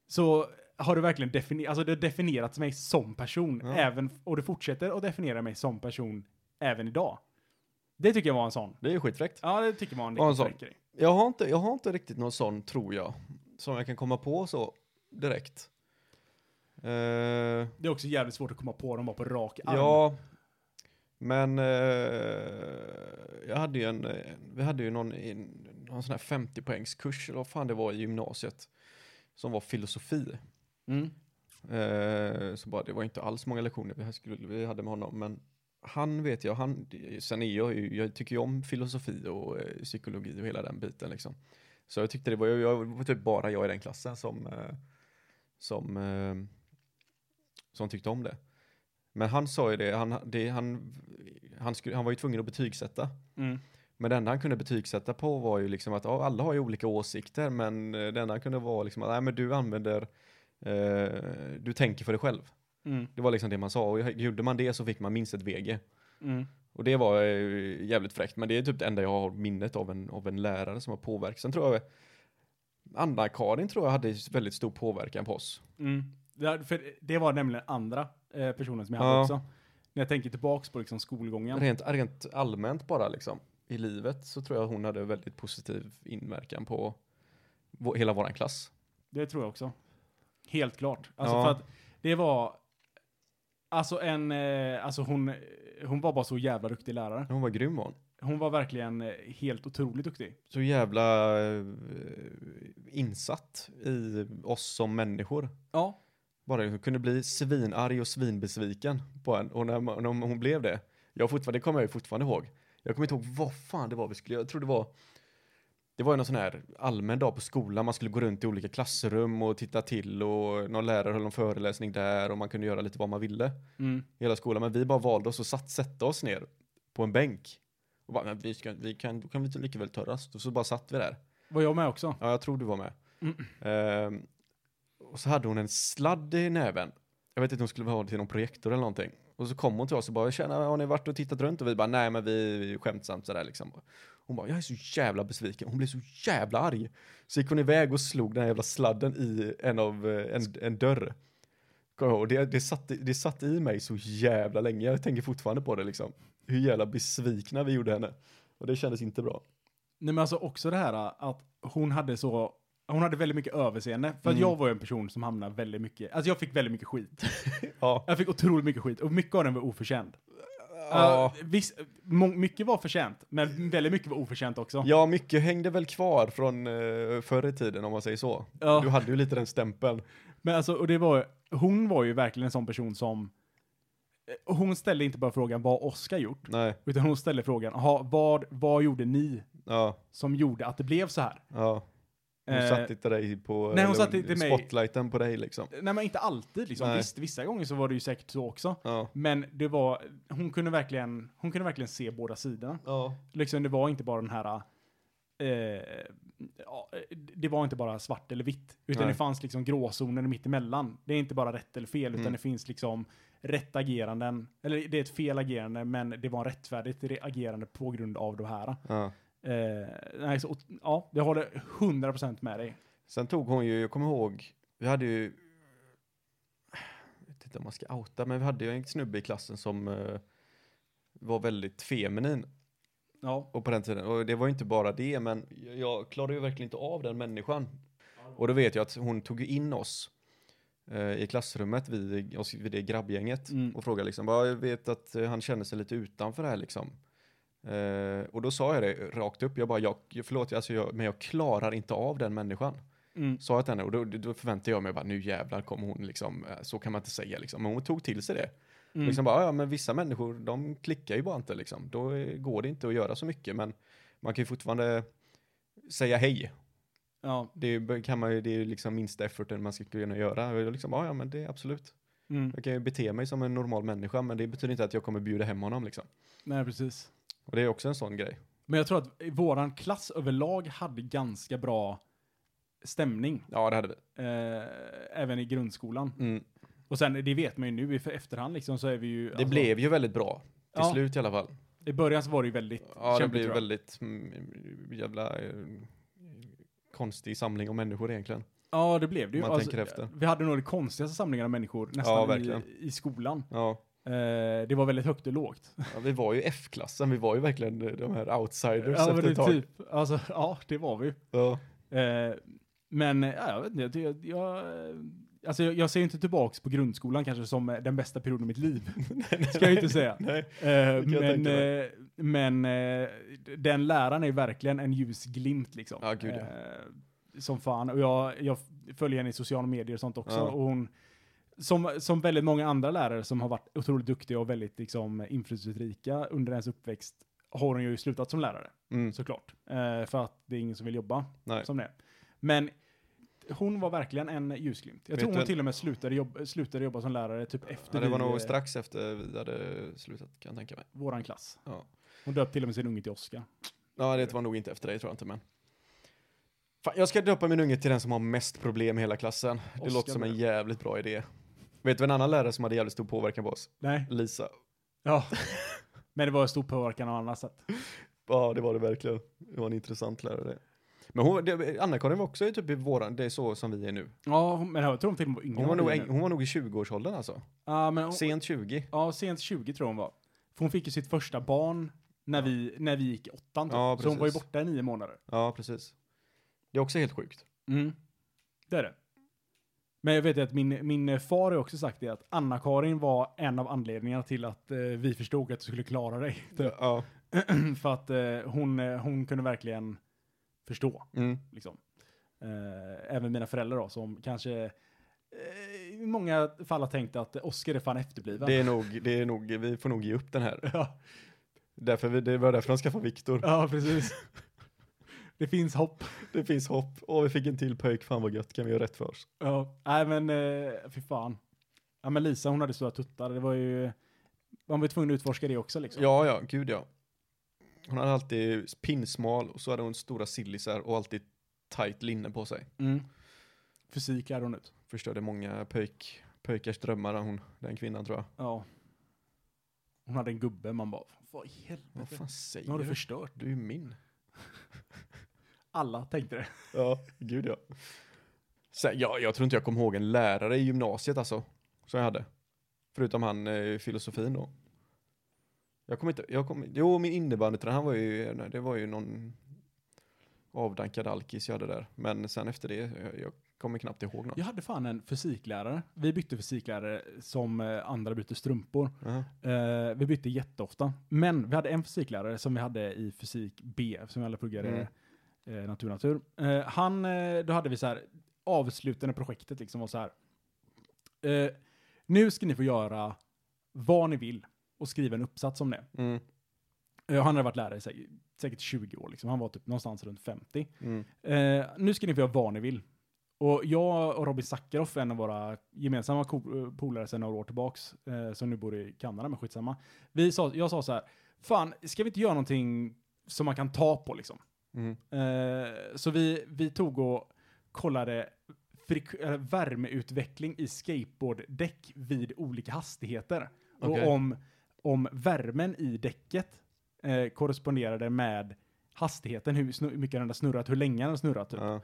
[SPEAKER 2] så har det verkligen defini- alltså det har definierat mig som person,
[SPEAKER 3] Ja.
[SPEAKER 2] även, och det fortsätter att definiera mig som person även idag. Det tycker jag var en sån
[SPEAKER 3] Det är ju skitfräckt.
[SPEAKER 2] Ja, det tycker man.
[SPEAKER 3] Ja, en sån.
[SPEAKER 2] fräck grej.
[SPEAKER 3] Jag har, inte, jag har inte riktigt någon sån, tror jag, som jag kan komma på så direkt. Eh,
[SPEAKER 2] Det är också jävligt svårt att komma på dem bara på rak arm.
[SPEAKER 3] Ja, men eh, jag hade ju en, eh, vi hade ju någon, in- någon sån här 50 poängskurs eller vad fan det var i gymnasiet som var filosofi.
[SPEAKER 2] Mm.
[SPEAKER 3] Eh, så bara, det var inte alls många lektioner vi, här skulle, vi hade med honom, men han vet jag, han, sen är jag ju, jag tycker ju om filosofi och eh, psykologi och hela den biten liksom. Så jag tyckte det var, jag, jag var typ bara jag i den klassen som, eh, som, eh, som tyckte om det. Men han sa ju det, han, det han, han, skulle, han var ju tvungen att betygsätta.
[SPEAKER 2] Mm.
[SPEAKER 3] Men det enda han kunde betygsätta på var ju liksom att ja, alla har ju olika åsikter, men eh, det enda han kunde vara liksom att nej, men du använder, eh, du tänker för dig själv.
[SPEAKER 2] Mm.
[SPEAKER 3] Det var liksom det man sa och gjorde man det så fick man minst ett VG.
[SPEAKER 2] Mm.
[SPEAKER 3] Och det var eh, jävligt fräckt, men det är typ det enda jag har minnet av en, av en lärare som har påverkat. Sen tror jag Anna-Karin tror jag hade väldigt stor påverkan på oss.
[SPEAKER 2] Mm. Ja, för det var nämligen andra eh, personen som jag hade
[SPEAKER 3] Ja.
[SPEAKER 2] också. När jag tänker tillbaks på liksom skolgången.
[SPEAKER 3] Rent, rent allmänt bara liksom i livet så tror jag hon hade väldigt positiv inverkan på vå- hela våran klass.
[SPEAKER 2] Det tror jag också. Helt klart. Alltså
[SPEAKER 3] Ja.
[SPEAKER 2] för att det var... Alltså en... Eh, alltså hon, hon var bara så jävla duktig lärare.
[SPEAKER 3] Hon var grym var hon.
[SPEAKER 2] Hon var verkligen eh, helt otroligt duktig.
[SPEAKER 3] så jävla eh, insatt i oss som människor.
[SPEAKER 2] Ja.
[SPEAKER 3] Bara hon kunde bli svinarg och svinbesviken på en. Och när, man- när hon blev det, jag fortfarande, det kommer jag ju fortfarande ihåg. Jag kommer inte ihåg vad fan det var vi skulle, jag tror det var det var ju någon sån här allmän dag på skolan, man skulle gå runt i olika klassrum och titta till och någon lärare höll en föreläsning där och man kunde göra lite vad man ville
[SPEAKER 2] Mm.
[SPEAKER 3] i hela skolan. Men vi bara valde oss att satt, sätta oss ner på en bänk. Och bara, men vi, ska, vi kan, då kan vi lika väl ta rast. Och så bara satt vi där.
[SPEAKER 2] Var jag med också?
[SPEAKER 3] Ja, jag tror du var med. Ehm, och så hade hon en sladd i näven. Jag vet inte, hon skulle ha det till någon projektor eller någonting. Och så kom hon till oss och bara, tjena, har ni varit och tittat runt? Och vi bara, nej men vi, vi är skämtsamt sådär liksom. Hon bara, jag är så jävla besviken. Hon blev så jävla arg. Så gick hon iväg och slog den här jävla sladden i en av, eh, en, en dörr. Kommer jag ihåg. Och det, det, satt, det satt i mig så jävla länge. Jag tänker fortfarande på det liksom. Hur jävla besvikna vi gjorde henne. Och det kändes inte bra.
[SPEAKER 2] Nej men alltså också det här att hon hade så, hon hade väldigt mycket överseende. För att
[SPEAKER 3] Mm.
[SPEAKER 2] jag var ju en person som hamnade väldigt mycket, alltså jag fick väldigt mycket skit.
[SPEAKER 3] Ja.
[SPEAKER 2] Jag fick otroligt mycket skit och mycket av den var oförtjänt.
[SPEAKER 3] Ja.
[SPEAKER 2] Uh, viss, må, mycket var förtjänt, men väldigt mycket var oförtjänt också.
[SPEAKER 3] ja, mycket hängde väl kvar från eh, förr i tiden om man säger så.
[SPEAKER 2] Ja.
[SPEAKER 3] Du hade ju lite den stämpeln.
[SPEAKER 2] Men alltså, och det var, hon var ju verkligen en sån person som, eh, hon ställde inte bara frågan vad Oscar gjort,
[SPEAKER 3] Nej,
[SPEAKER 2] utan hon ställde frågan, aha, vad, vad gjorde ni
[SPEAKER 3] ja,
[SPEAKER 2] som gjorde att det blev så här?
[SPEAKER 3] ja. Hon
[SPEAKER 2] Eh,
[SPEAKER 3] satte inte dig på...
[SPEAKER 2] nej, hon
[SPEAKER 3] eller
[SPEAKER 2] satte inte mig-
[SPEAKER 3] Spotlighten på dig liksom.
[SPEAKER 2] Nej men inte alltid liksom,
[SPEAKER 3] Nej.
[SPEAKER 2] visst, vissa gånger så var det ju säkert så också.
[SPEAKER 3] Ja.
[SPEAKER 2] Men det var, hon kunde verkligen, hon kunde verkligen se båda sidorna.
[SPEAKER 3] Ja.
[SPEAKER 2] Liksom det var inte bara den här, eh, ja, det var inte bara svart eller vitt, utan
[SPEAKER 3] Nej.
[SPEAKER 2] det fanns liksom gråzoner mitt emellan. Det är inte bara rätt eller fel, utan
[SPEAKER 3] Mm.
[SPEAKER 2] det finns liksom rätt ageranden, eller det är ett fel agerande, men det var rättfärdigt re- agerande på grund av det här.
[SPEAKER 3] ja.
[SPEAKER 2] Eh, nej, så, och, ja, jag håller 100% med dig.
[SPEAKER 3] Sen tog hon ju, jag kommer ihåg, vi hade ju, jag vet inte om man ska outa, men vi hade ju en snubbe i klassen som eh, var väldigt feminin
[SPEAKER 2] Ja,
[SPEAKER 3] och på den tiden. Och det var ju inte bara det, men jag- jag klarade ju verkligen inte av den människan. Och då vet jag att hon tog ju in oss eh, i klassrummet, vi, oss, vid det grabbgänget
[SPEAKER 2] Mm.
[SPEAKER 3] och frågade liksom, "Bara, jag vet att eh, han känner sig lite utanför här liksom. Eh, och då sa jag det rakt upp, jag bara, jag, förlåt, alltså jag, men jag klarar inte av den människan
[SPEAKER 2] mm,
[SPEAKER 3] sa jag till henne och då, då förväntade jag mig bara nu jävlar kommer hon liksom, eh, så kan man inte säga liksom. Men hon tog till sig det.
[SPEAKER 2] Mm.
[SPEAKER 3] Liksom bara, ja men vissa människor de klickar ju bara inte liksom. Då eh, går det inte att göra så mycket men man kan ju fortfarande säga hej.
[SPEAKER 2] ja,
[SPEAKER 3] Det är ju- kan man ju, det är ju liksom minsta efforten man ska kunna göra. Och jag liksom, ja, ja men det är absolut.
[SPEAKER 2] mm,
[SPEAKER 3] Jag kan ju bete mig som en normal människa men det betyder inte att jag kommer bjuda hem honom liksom.
[SPEAKER 2] nej precis.
[SPEAKER 3] Och det är också en sån grej.
[SPEAKER 2] Men jag tror att våran klass överlag hade ganska bra stämning,
[SPEAKER 3] Ja det hade vi.
[SPEAKER 2] eh, även i grundskolan.
[SPEAKER 3] Mm.
[SPEAKER 2] Och sen, det vet man ju nu i för- efterhand liksom, så är vi ju...
[SPEAKER 3] Det
[SPEAKER 2] alltså,
[SPEAKER 3] blev ju väldigt bra. Till
[SPEAKER 2] Ja.
[SPEAKER 3] slut i alla fall.
[SPEAKER 2] I början så var det ju väldigt
[SPEAKER 3] Ja, det
[SPEAKER 2] kämpigt,
[SPEAKER 3] blir
[SPEAKER 2] tror jag.
[SPEAKER 3] väldigt mm, jävla eh, konstig samling av människor egentligen.
[SPEAKER 2] Ja, det blev det ju. Alltså,
[SPEAKER 3] man tänker efter.
[SPEAKER 2] Vi hade nog de konstigaste samlingarna av människor
[SPEAKER 3] Ja,
[SPEAKER 2] nästan
[SPEAKER 3] verkligen.
[SPEAKER 2] i, i skolan.
[SPEAKER 3] Ja.
[SPEAKER 2] Eh, det var väldigt högt och lågt.
[SPEAKER 3] ja, vi var ju F-klassen, vi var ju verkligen eh, de här outsiders
[SPEAKER 2] ja,
[SPEAKER 3] efter
[SPEAKER 2] men
[SPEAKER 3] ett
[SPEAKER 2] det,
[SPEAKER 3] tag.
[SPEAKER 2] typ, alltså, ja, det var vi ju.
[SPEAKER 3] Ja.
[SPEAKER 2] Eh, men eh, jag vet inte, jag, jag, alltså, jag, jag ser ju inte tillbaks på grundskolan kanske som eh, den bästa perioden i mitt liv. Ska jag ju inte säga.
[SPEAKER 3] Nej.
[SPEAKER 2] Eh,
[SPEAKER 3] kan jag
[SPEAKER 2] men
[SPEAKER 3] tänka mig.
[SPEAKER 2] eh, men eh, den läraren är verkligen en ljusglimt liksom.
[SPEAKER 3] Ja, gud, ja.
[SPEAKER 2] Eh, som fan. Och jag, jag följer henne i sociala medier och sånt också.
[SPEAKER 3] Ja.
[SPEAKER 2] Och hon, som, som väldigt många andra lärare som har varit otroligt duktiga och väldigt liksom, inflytelserika under ens uppväxt har hon ju slutat som lärare,
[SPEAKER 3] Mm.
[SPEAKER 2] såklart. Eh, för att det är ingen som vill jobba
[SPEAKER 3] Nej.
[SPEAKER 2] som det. Men hon var verkligen en ljusglimt. Jag
[SPEAKER 3] Vet
[SPEAKER 2] tror
[SPEAKER 3] du
[SPEAKER 2] hon
[SPEAKER 3] en-
[SPEAKER 2] till och med slutade jobba, slutade jobba som lärare typ efter
[SPEAKER 3] Ja, det var
[SPEAKER 2] vi, eh,
[SPEAKER 3] nog strax efter vi hade slutat kan jag tänka mig.
[SPEAKER 2] våran klass.
[SPEAKER 3] Ja.
[SPEAKER 2] Hon döpte till och med sin unge till Oscar.
[SPEAKER 3] Ja, det var nog inte efter dig tror jag inte men. Fan, jag ska döpa min unge till den som har mest problem i hela klassen. Det
[SPEAKER 2] Oskar
[SPEAKER 3] låter som en
[SPEAKER 2] Lööf.
[SPEAKER 3] jävligt bra idé. Vet du en annan lärare som hade jävligt stor påverkan på oss?
[SPEAKER 2] Nej.
[SPEAKER 3] Lisa.
[SPEAKER 2] Ja. Men det var en stor påverkan av annat sätt.
[SPEAKER 3] Ja, det var det verkligen. Det var en intressant lärare. det. Men hon, det- Anna-Karin var också typ i våran, det är så som vi är nu.
[SPEAKER 2] Ja, hon- men jag tror hon till och med var yngre.
[SPEAKER 3] Hon var,
[SPEAKER 2] än
[SPEAKER 3] nog,
[SPEAKER 2] vi är
[SPEAKER 3] en-
[SPEAKER 2] nu.
[SPEAKER 3] hon var nog i 20-årsåldern alltså.
[SPEAKER 2] Ja, men hon,
[SPEAKER 3] Sent 20.
[SPEAKER 2] ja, sent 20 tror jag hon var. För hon fick ju sitt första barn när vi, när vi gick i åttan. Typ.
[SPEAKER 3] Ja,
[SPEAKER 2] så hon var ju
[SPEAKER 3] precis.
[SPEAKER 2] borta i nio månader.
[SPEAKER 3] Ja, precis. Det är också helt sjukt.
[SPEAKER 2] Mm. Det är det. Men jag vet ju att min, min far har också sagt det att Anna-Karin var en av anledningarna till att eh, vi förstod att du skulle klara dig. typ.
[SPEAKER 3] Ja.
[SPEAKER 2] För att eh, hon, eh, hon kunde verkligen förstå.
[SPEAKER 3] Mm.
[SPEAKER 2] liksom. Eh, även mina föräldrar då, som kanske eh, i många fall har tänkt att Oscar är fan efterbliven.
[SPEAKER 3] Det är nog, det är nog, vi får nog ge upp den här.
[SPEAKER 2] Ja,
[SPEAKER 3] Därför vi, det var därför de skaffade Viktor.
[SPEAKER 2] ja, precis. det finns hopp.
[SPEAKER 3] Det finns hopp. Åh, vi fick en till pöjk. Fan vad gött. Kan vi göra rätt för oss?
[SPEAKER 2] Ja, nej men eh, fy fan. Ja men Lisa hon hade stora tuttar, det var ju, man var ju tvungen att utforska det också liksom.
[SPEAKER 3] Ja, ja. Gud ja. Hon hade alltid pinnsmal och så hade hon stora sillisar och alltid tight linne på sig.
[SPEAKER 2] Mm. Fysik lärde hon ut.
[SPEAKER 3] Förstörde många pöjk, pöjkars drömmar hon, den kvinnan tror jag.
[SPEAKER 2] Ja. Hon hade en gubbe, man bara, vad i
[SPEAKER 3] Vad
[SPEAKER 2] helvete?
[SPEAKER 3] fan
[SPEAKER 2] Nu har
[SPEAKER 3] säger
[SPEAKER 2] du
[SPEAKER 3] du?
[SPEAKER 2] förstört.
[SPEAKER 3] Du är ju min.
[SPEAKER 2] Alla tänkte det.
[SPEAKER 3] Ja, gud ja. Sen, jag, jag tror inte jag kommer ihåg en lärare i gymnasiet alltså, som jag hade. Förutom han eh, filosofin då. Jag kommer inte, jag kommer, jo min innebandytränare, han var ju, nej, det var ju någon, avdankad alkis jag hade där. Men sen efter det, jag, jag kommer knappt ihåg något.
[SPEAKER 2] Jag hade fan en fysiklärare. Vi bytte fysiklärare som eh, andra byter strumpor.
[SPEAKER 3] Aha.
[SPEAKER 2] Eh, vi bytte jätteofta. Men vi hade en fysiklärare som vi hade i fysik B, som vi alla pluggade
[SPEAKER 3] Mm.
[SPEAKER 2] eh, natur, natur. Eh, han, eh, då hade vi så här, avslutande projektet liksom var så här. Eh, nu ska ni få göra vad ni vill och skriva en uppsats om det.
[SPEAKER 3] Mm,
[SPEAKER 2] Eh, han hade varit lärare i säkert, säkert 20 år, liksom. han var typ någonstans runt 50.
[SPEAKER 3] mm,
[SPEAKER 2] Eh, nu ska ni få göra vad ni vill. Och jag och Robin Sackaroff, en av våra gemensamma ko- eh, polare sedan några år tillbaks, eh, som nu bor i Kanada, men skitsamma. Vi sa, jag sa så här, fan, ska vi inte göra någonting som man kan ta på liksom?
[SPEAKER 3] mm,
[SPEAKER 2] Eh, så vi, vi tog och kollade frik- eh, värmeutveckling i skateboarddäck vid olika hastigheter.
[SPEAKER 3] Okej.
[SPEAKER 2] Och om, om värmen i däcket eh, korresponderade med hastigheten, hur, snu- hur mycket den hade snurrat, hur länge den hade snurrat. Typ.
[SPEAKER 3] ja.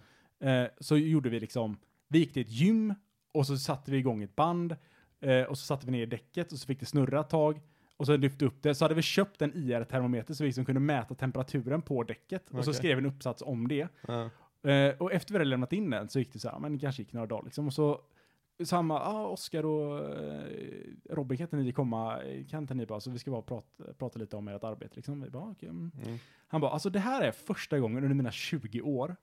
[SPEAKER 2] Eh, så gjorde vi liksom, vi gick till ett gym och så satte vi igång ett band eh, och så satte vi ner däcket och så fick det snurra ett tag och så lyfte upp det. Så hade vi köpt en IR-termometer så vi liksom kunde mäta temperaturen på däcket och så
[SPEAKER 3] Okej.
[SPEAKER 2] skrev vi en uppsats om det.
[SPEAKER 3] ja.
[SPEAKER 2] Eh, och efter vi hade lämnat in den så gick det så här, men det kanske gick några dagar liksom. Och så samma, ja, ah, Oskar och eh, Robin kan inte ni komma, kan inte ni bara, så vi ska bara prata, prata lite om ert arbete liksom. Vi bara, ah, okej. mm.
[SPEAKER 3] Mm.
[SPEAKER 2] Han bara, alltså det här är första gången under mina 20 år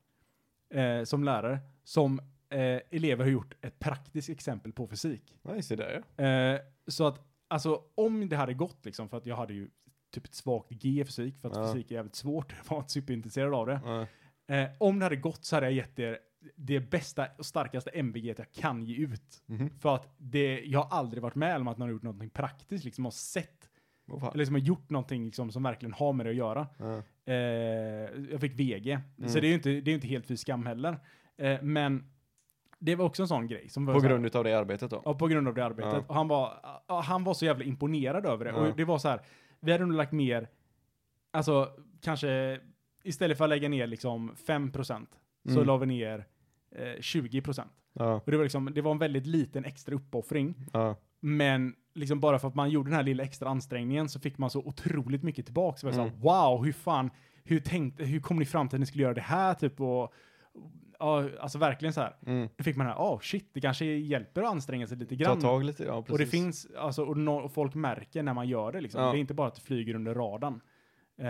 [SPEAKER 2] eh, som lärare som eh, elever har gjort ett praktiskt exempel på fysik.
[SPEAKER 3] Nej, se där ja.
[SPEAKER 2] Eh, så att, alltså om det hade gått liksom, för att jag hade ju typ ett svagt G i fysik, för att
[SPEAKER 3] Ja.
[SPEAKER 2] fysik är jävligt svårt, jag var inte superintresserad av det.
[SPEAKER 3] Ja.
[SPEAKER 2] Eh, om det hade gått så hade jag gett er det bästa och starkaste MVG jag kan ge ut.
[SPEAKER 3] Mhm.
[SPEAKER 2] För att det, jag har aldrig varit med om att någon har gjort någonting praktiskt, liksom har sett,
[SPEAKER 3] Vad fan.
[SPEAKER 2] eller som har gjort någonting liksom, som verkligen har med det att göra.
[SPEAKER 3] Ja.
[SPEAKER 2] Eh, jag fick VG,
[SPEAKER 3] Mm.
[SPEAKER 2] så det är ju inte, det är ju inte helt fy skam heller. Eh, men det var också en sån grej. Som var
[SPEAKER 3] På
[SPEAKER 2] så här-
[SPEAKER 3] grund av det arbetet då?
[SPEAKER 2] Ja, på grund av det arbetet.
[SPEAKER 3] Ja.
[SPEAKER 2] Och han var, ja, han var så jävla imponerad över det.
[SPEAKER 3] Ja.
[SPEAKER 2] Och det var så här, vi hade nog lagt ner, alltså kanske, istället för att lägga ner liksom 5% så
[SPEAKER 3] Mm.
[SPEAKER 2] la vi ner eh, 20%.
[SPEAKER 3] Ja.
[SPEAKER 2] Och det var, liksom, det var en väldigt liten extra uppoffring.
[SPEAKER 3] Ja.
[SPEAKER 2] Men liksom bara för att man gjorde den här lilla extra ansträngningen så fick man så otroligt mycket tillbaka. Så var det
[SPEAKER 3] Mm.
[SPEAKER 2] så här, wow, hur fan, hur, tänkte, hur kom ni fram till att ni skulle göra det här? Typ, och, ja, alltså verkligen så här.
[SPEAKER 3] Mm.
[SPEAKER 2] Då fick man här, oh shit, det kanske hjälper att anstränga sig lite
[SPEAKER 3] Ta
[SPEAKER 2] grann.
[SPEAKER 3] tag lite, ja precis.
[SPEAKER 2] Och det finns, alltså, och, no, och folk märker när man gör det liksom.
[SPEAKER 3] Ja.
[SPEAKER 2] Det är inte bara att det flyger under radarn. Eh,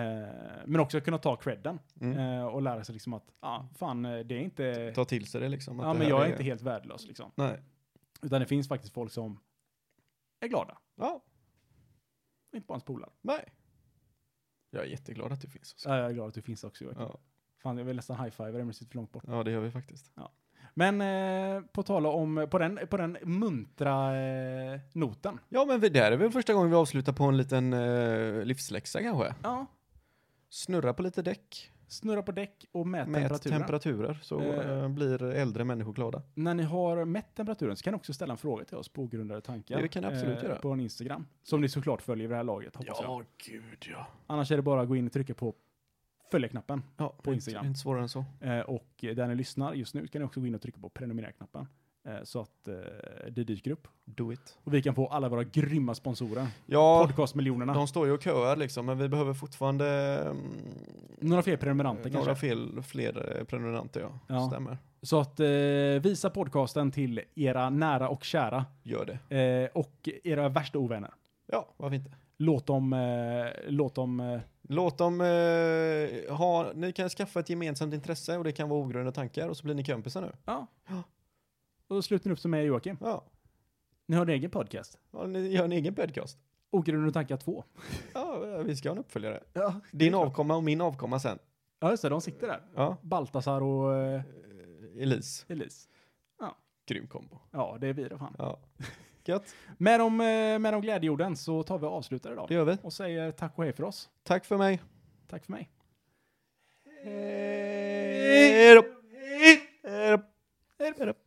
[SPEAKER 2] men också att kunna ta credden
[SPEAKER 3] Mm.
[SPEAKER 2] eh, och lära sig liksom att, ja, ah, fan, eh, det är inte,
[SPEAKER 3] Ta till sig det liksom. att
[SPEAKER 2] ja
[SPEAKER 3] det
[SPEAKER 2] men
[SPEAKER 3] här
[SPEAKER 2] jag är inte helt värdelös liksom.
[SPEAKER 3] Nej.
[SPEAKER 2] Utan det finns faktiskt folk som är glada,
[SPEAKER 3] Ja,
[SPEAKER 2] inte bara ens polare.
[SPEAKER 3] nej. Jag är jätteglad att du finns. Också.
[SPEAKER 2] Ja, jag är glad att du finns också Joakim.
[SPEAKER 3] Ja.
[SPEAKER 2] Fan, jag vill nästan high-fiva dig men du sitter för långt bort.
[SPEAKER 3] ja, det gör vi faktiskt.
[SPEAKER 2] Men eh, på tala om, på den, på den muntra eh, noten.
[SPEAKER 3] Ja, men vi- det här är väl första gången vi avslutar på en liten eh, livsläxa kanske.
[SPEAKER 2] Ja,
[SPEAKER 3] Snurra på lite däck,
[SPEAKER 2] snurra på däck och mät
[SPEAKER 3] mät
[SPEAKER 2] temperaturen.
[SPEAKER 3] temperaturer så
[SPEAKER 2] Eh.
[SPEAKER 3] eh, blir äldre människor glada.
[SPEAKER 2] När ni har mätt temperaturen så kan ni också ställa en fråga till oss på Ogrundade tankar. eh,
[SPEAKER 3] Det kan ni absolut göra.
[SPEAKER 2] På en Instagram. Som ni såklart följer vid det här laget, hoppas jag.
[SPEAKER 3] gud ja.
[SPEAKER 2] Annars är det bara att gå in och trycka på följa-knappen.
[SPEAKER 3] ja på
[SPEAKER 2] Instagram.
[SPEAKER 3] Instagram. Inte svårare än så.
[SPEAKER 2] Eh, och där ni lyssnar just nu kan ni också gå in och trycka på prenumerera-knappen. Eh, så att eh, det dyker upp.
[SPEAKER 3] Do it.
[SPEAKER 2] Och vi kan få alla våra grymma sponsorer.
[SPEAKER 3] Ja,
[SPEAKER 2] Podcastmiljonerna.
[SPEAKER 3] de står ju och köar liksom, men vi behöver fortfarande mm,
[SPEAKER 2] Några fler prenumeranter
[SPEAKER 3] Eh, några
[SPEAKER 2] kanske.
[SPEAKER 3] fel, fler eh, prenumeranter, ja.
[SPEAKER 2] Ja.
[SPEAKER 3] Stämmer.
[SPEAKER 2] Så att eh, visa podcasten till era nära och kära.
[SPEAKER 3] Gör det.
[SPEAKER 2] Eh, och era värsta ovänner.
[SPEAKER 3] Ja, varför inte?
[SPEAKER 2] Låt dem, eh, låt dem eh,
[SPEAKER 3] Låt dem eh, ha, ni kan skaffa ett gemensamt intresse och det kan vara ogrundade tankar och så blir ni kompisar nu.
[SPEAKER 2] Ja.
[SPEAKER 3] Ja.
[SPEAKER 2] Och då slutar ni upp som mig och Joakim.
[SPEAKER 3] Ja,
[SPEAKER 2] Ni har en egen podcast.
[SPEAKER 3] ja ni gör en egen podcast.
[SPEAKER 2] Ogrundade tankar 2.
[SPEAKER 3] Ja, eh, vi ska ha en uppföljare.
[SPEAKER 2] Ja.
[SPEAKER 3] Din avkomma och min avkomma sen.
[SPEAKER 2] Ja, just det. De sitter där.
[SPEAKER 3] Ja,
[SPEAKER 2] Baltasar och eh,
[SPEAKER 3] Elise.
[SPEAKER 2] Elise.
[SPEAKER 3] Grym kombo.
[SPEAKER 2] Ja, det är vi då fan.
[SPEAKER 3] Ja, gött.
[SPEAKER 2] Med de, eh, med de glädjeorden så tar vi och avslutar idag.
[SPEAKER 3] Det gör vi.
[SPEAKER 2] Och säger tack och hej för oss.
[SPEAKER 3] Tack för mig.
[SPEAKER 2] Tack för mig.
[SPEAKER 3] Hej då. Hej då. Hej då.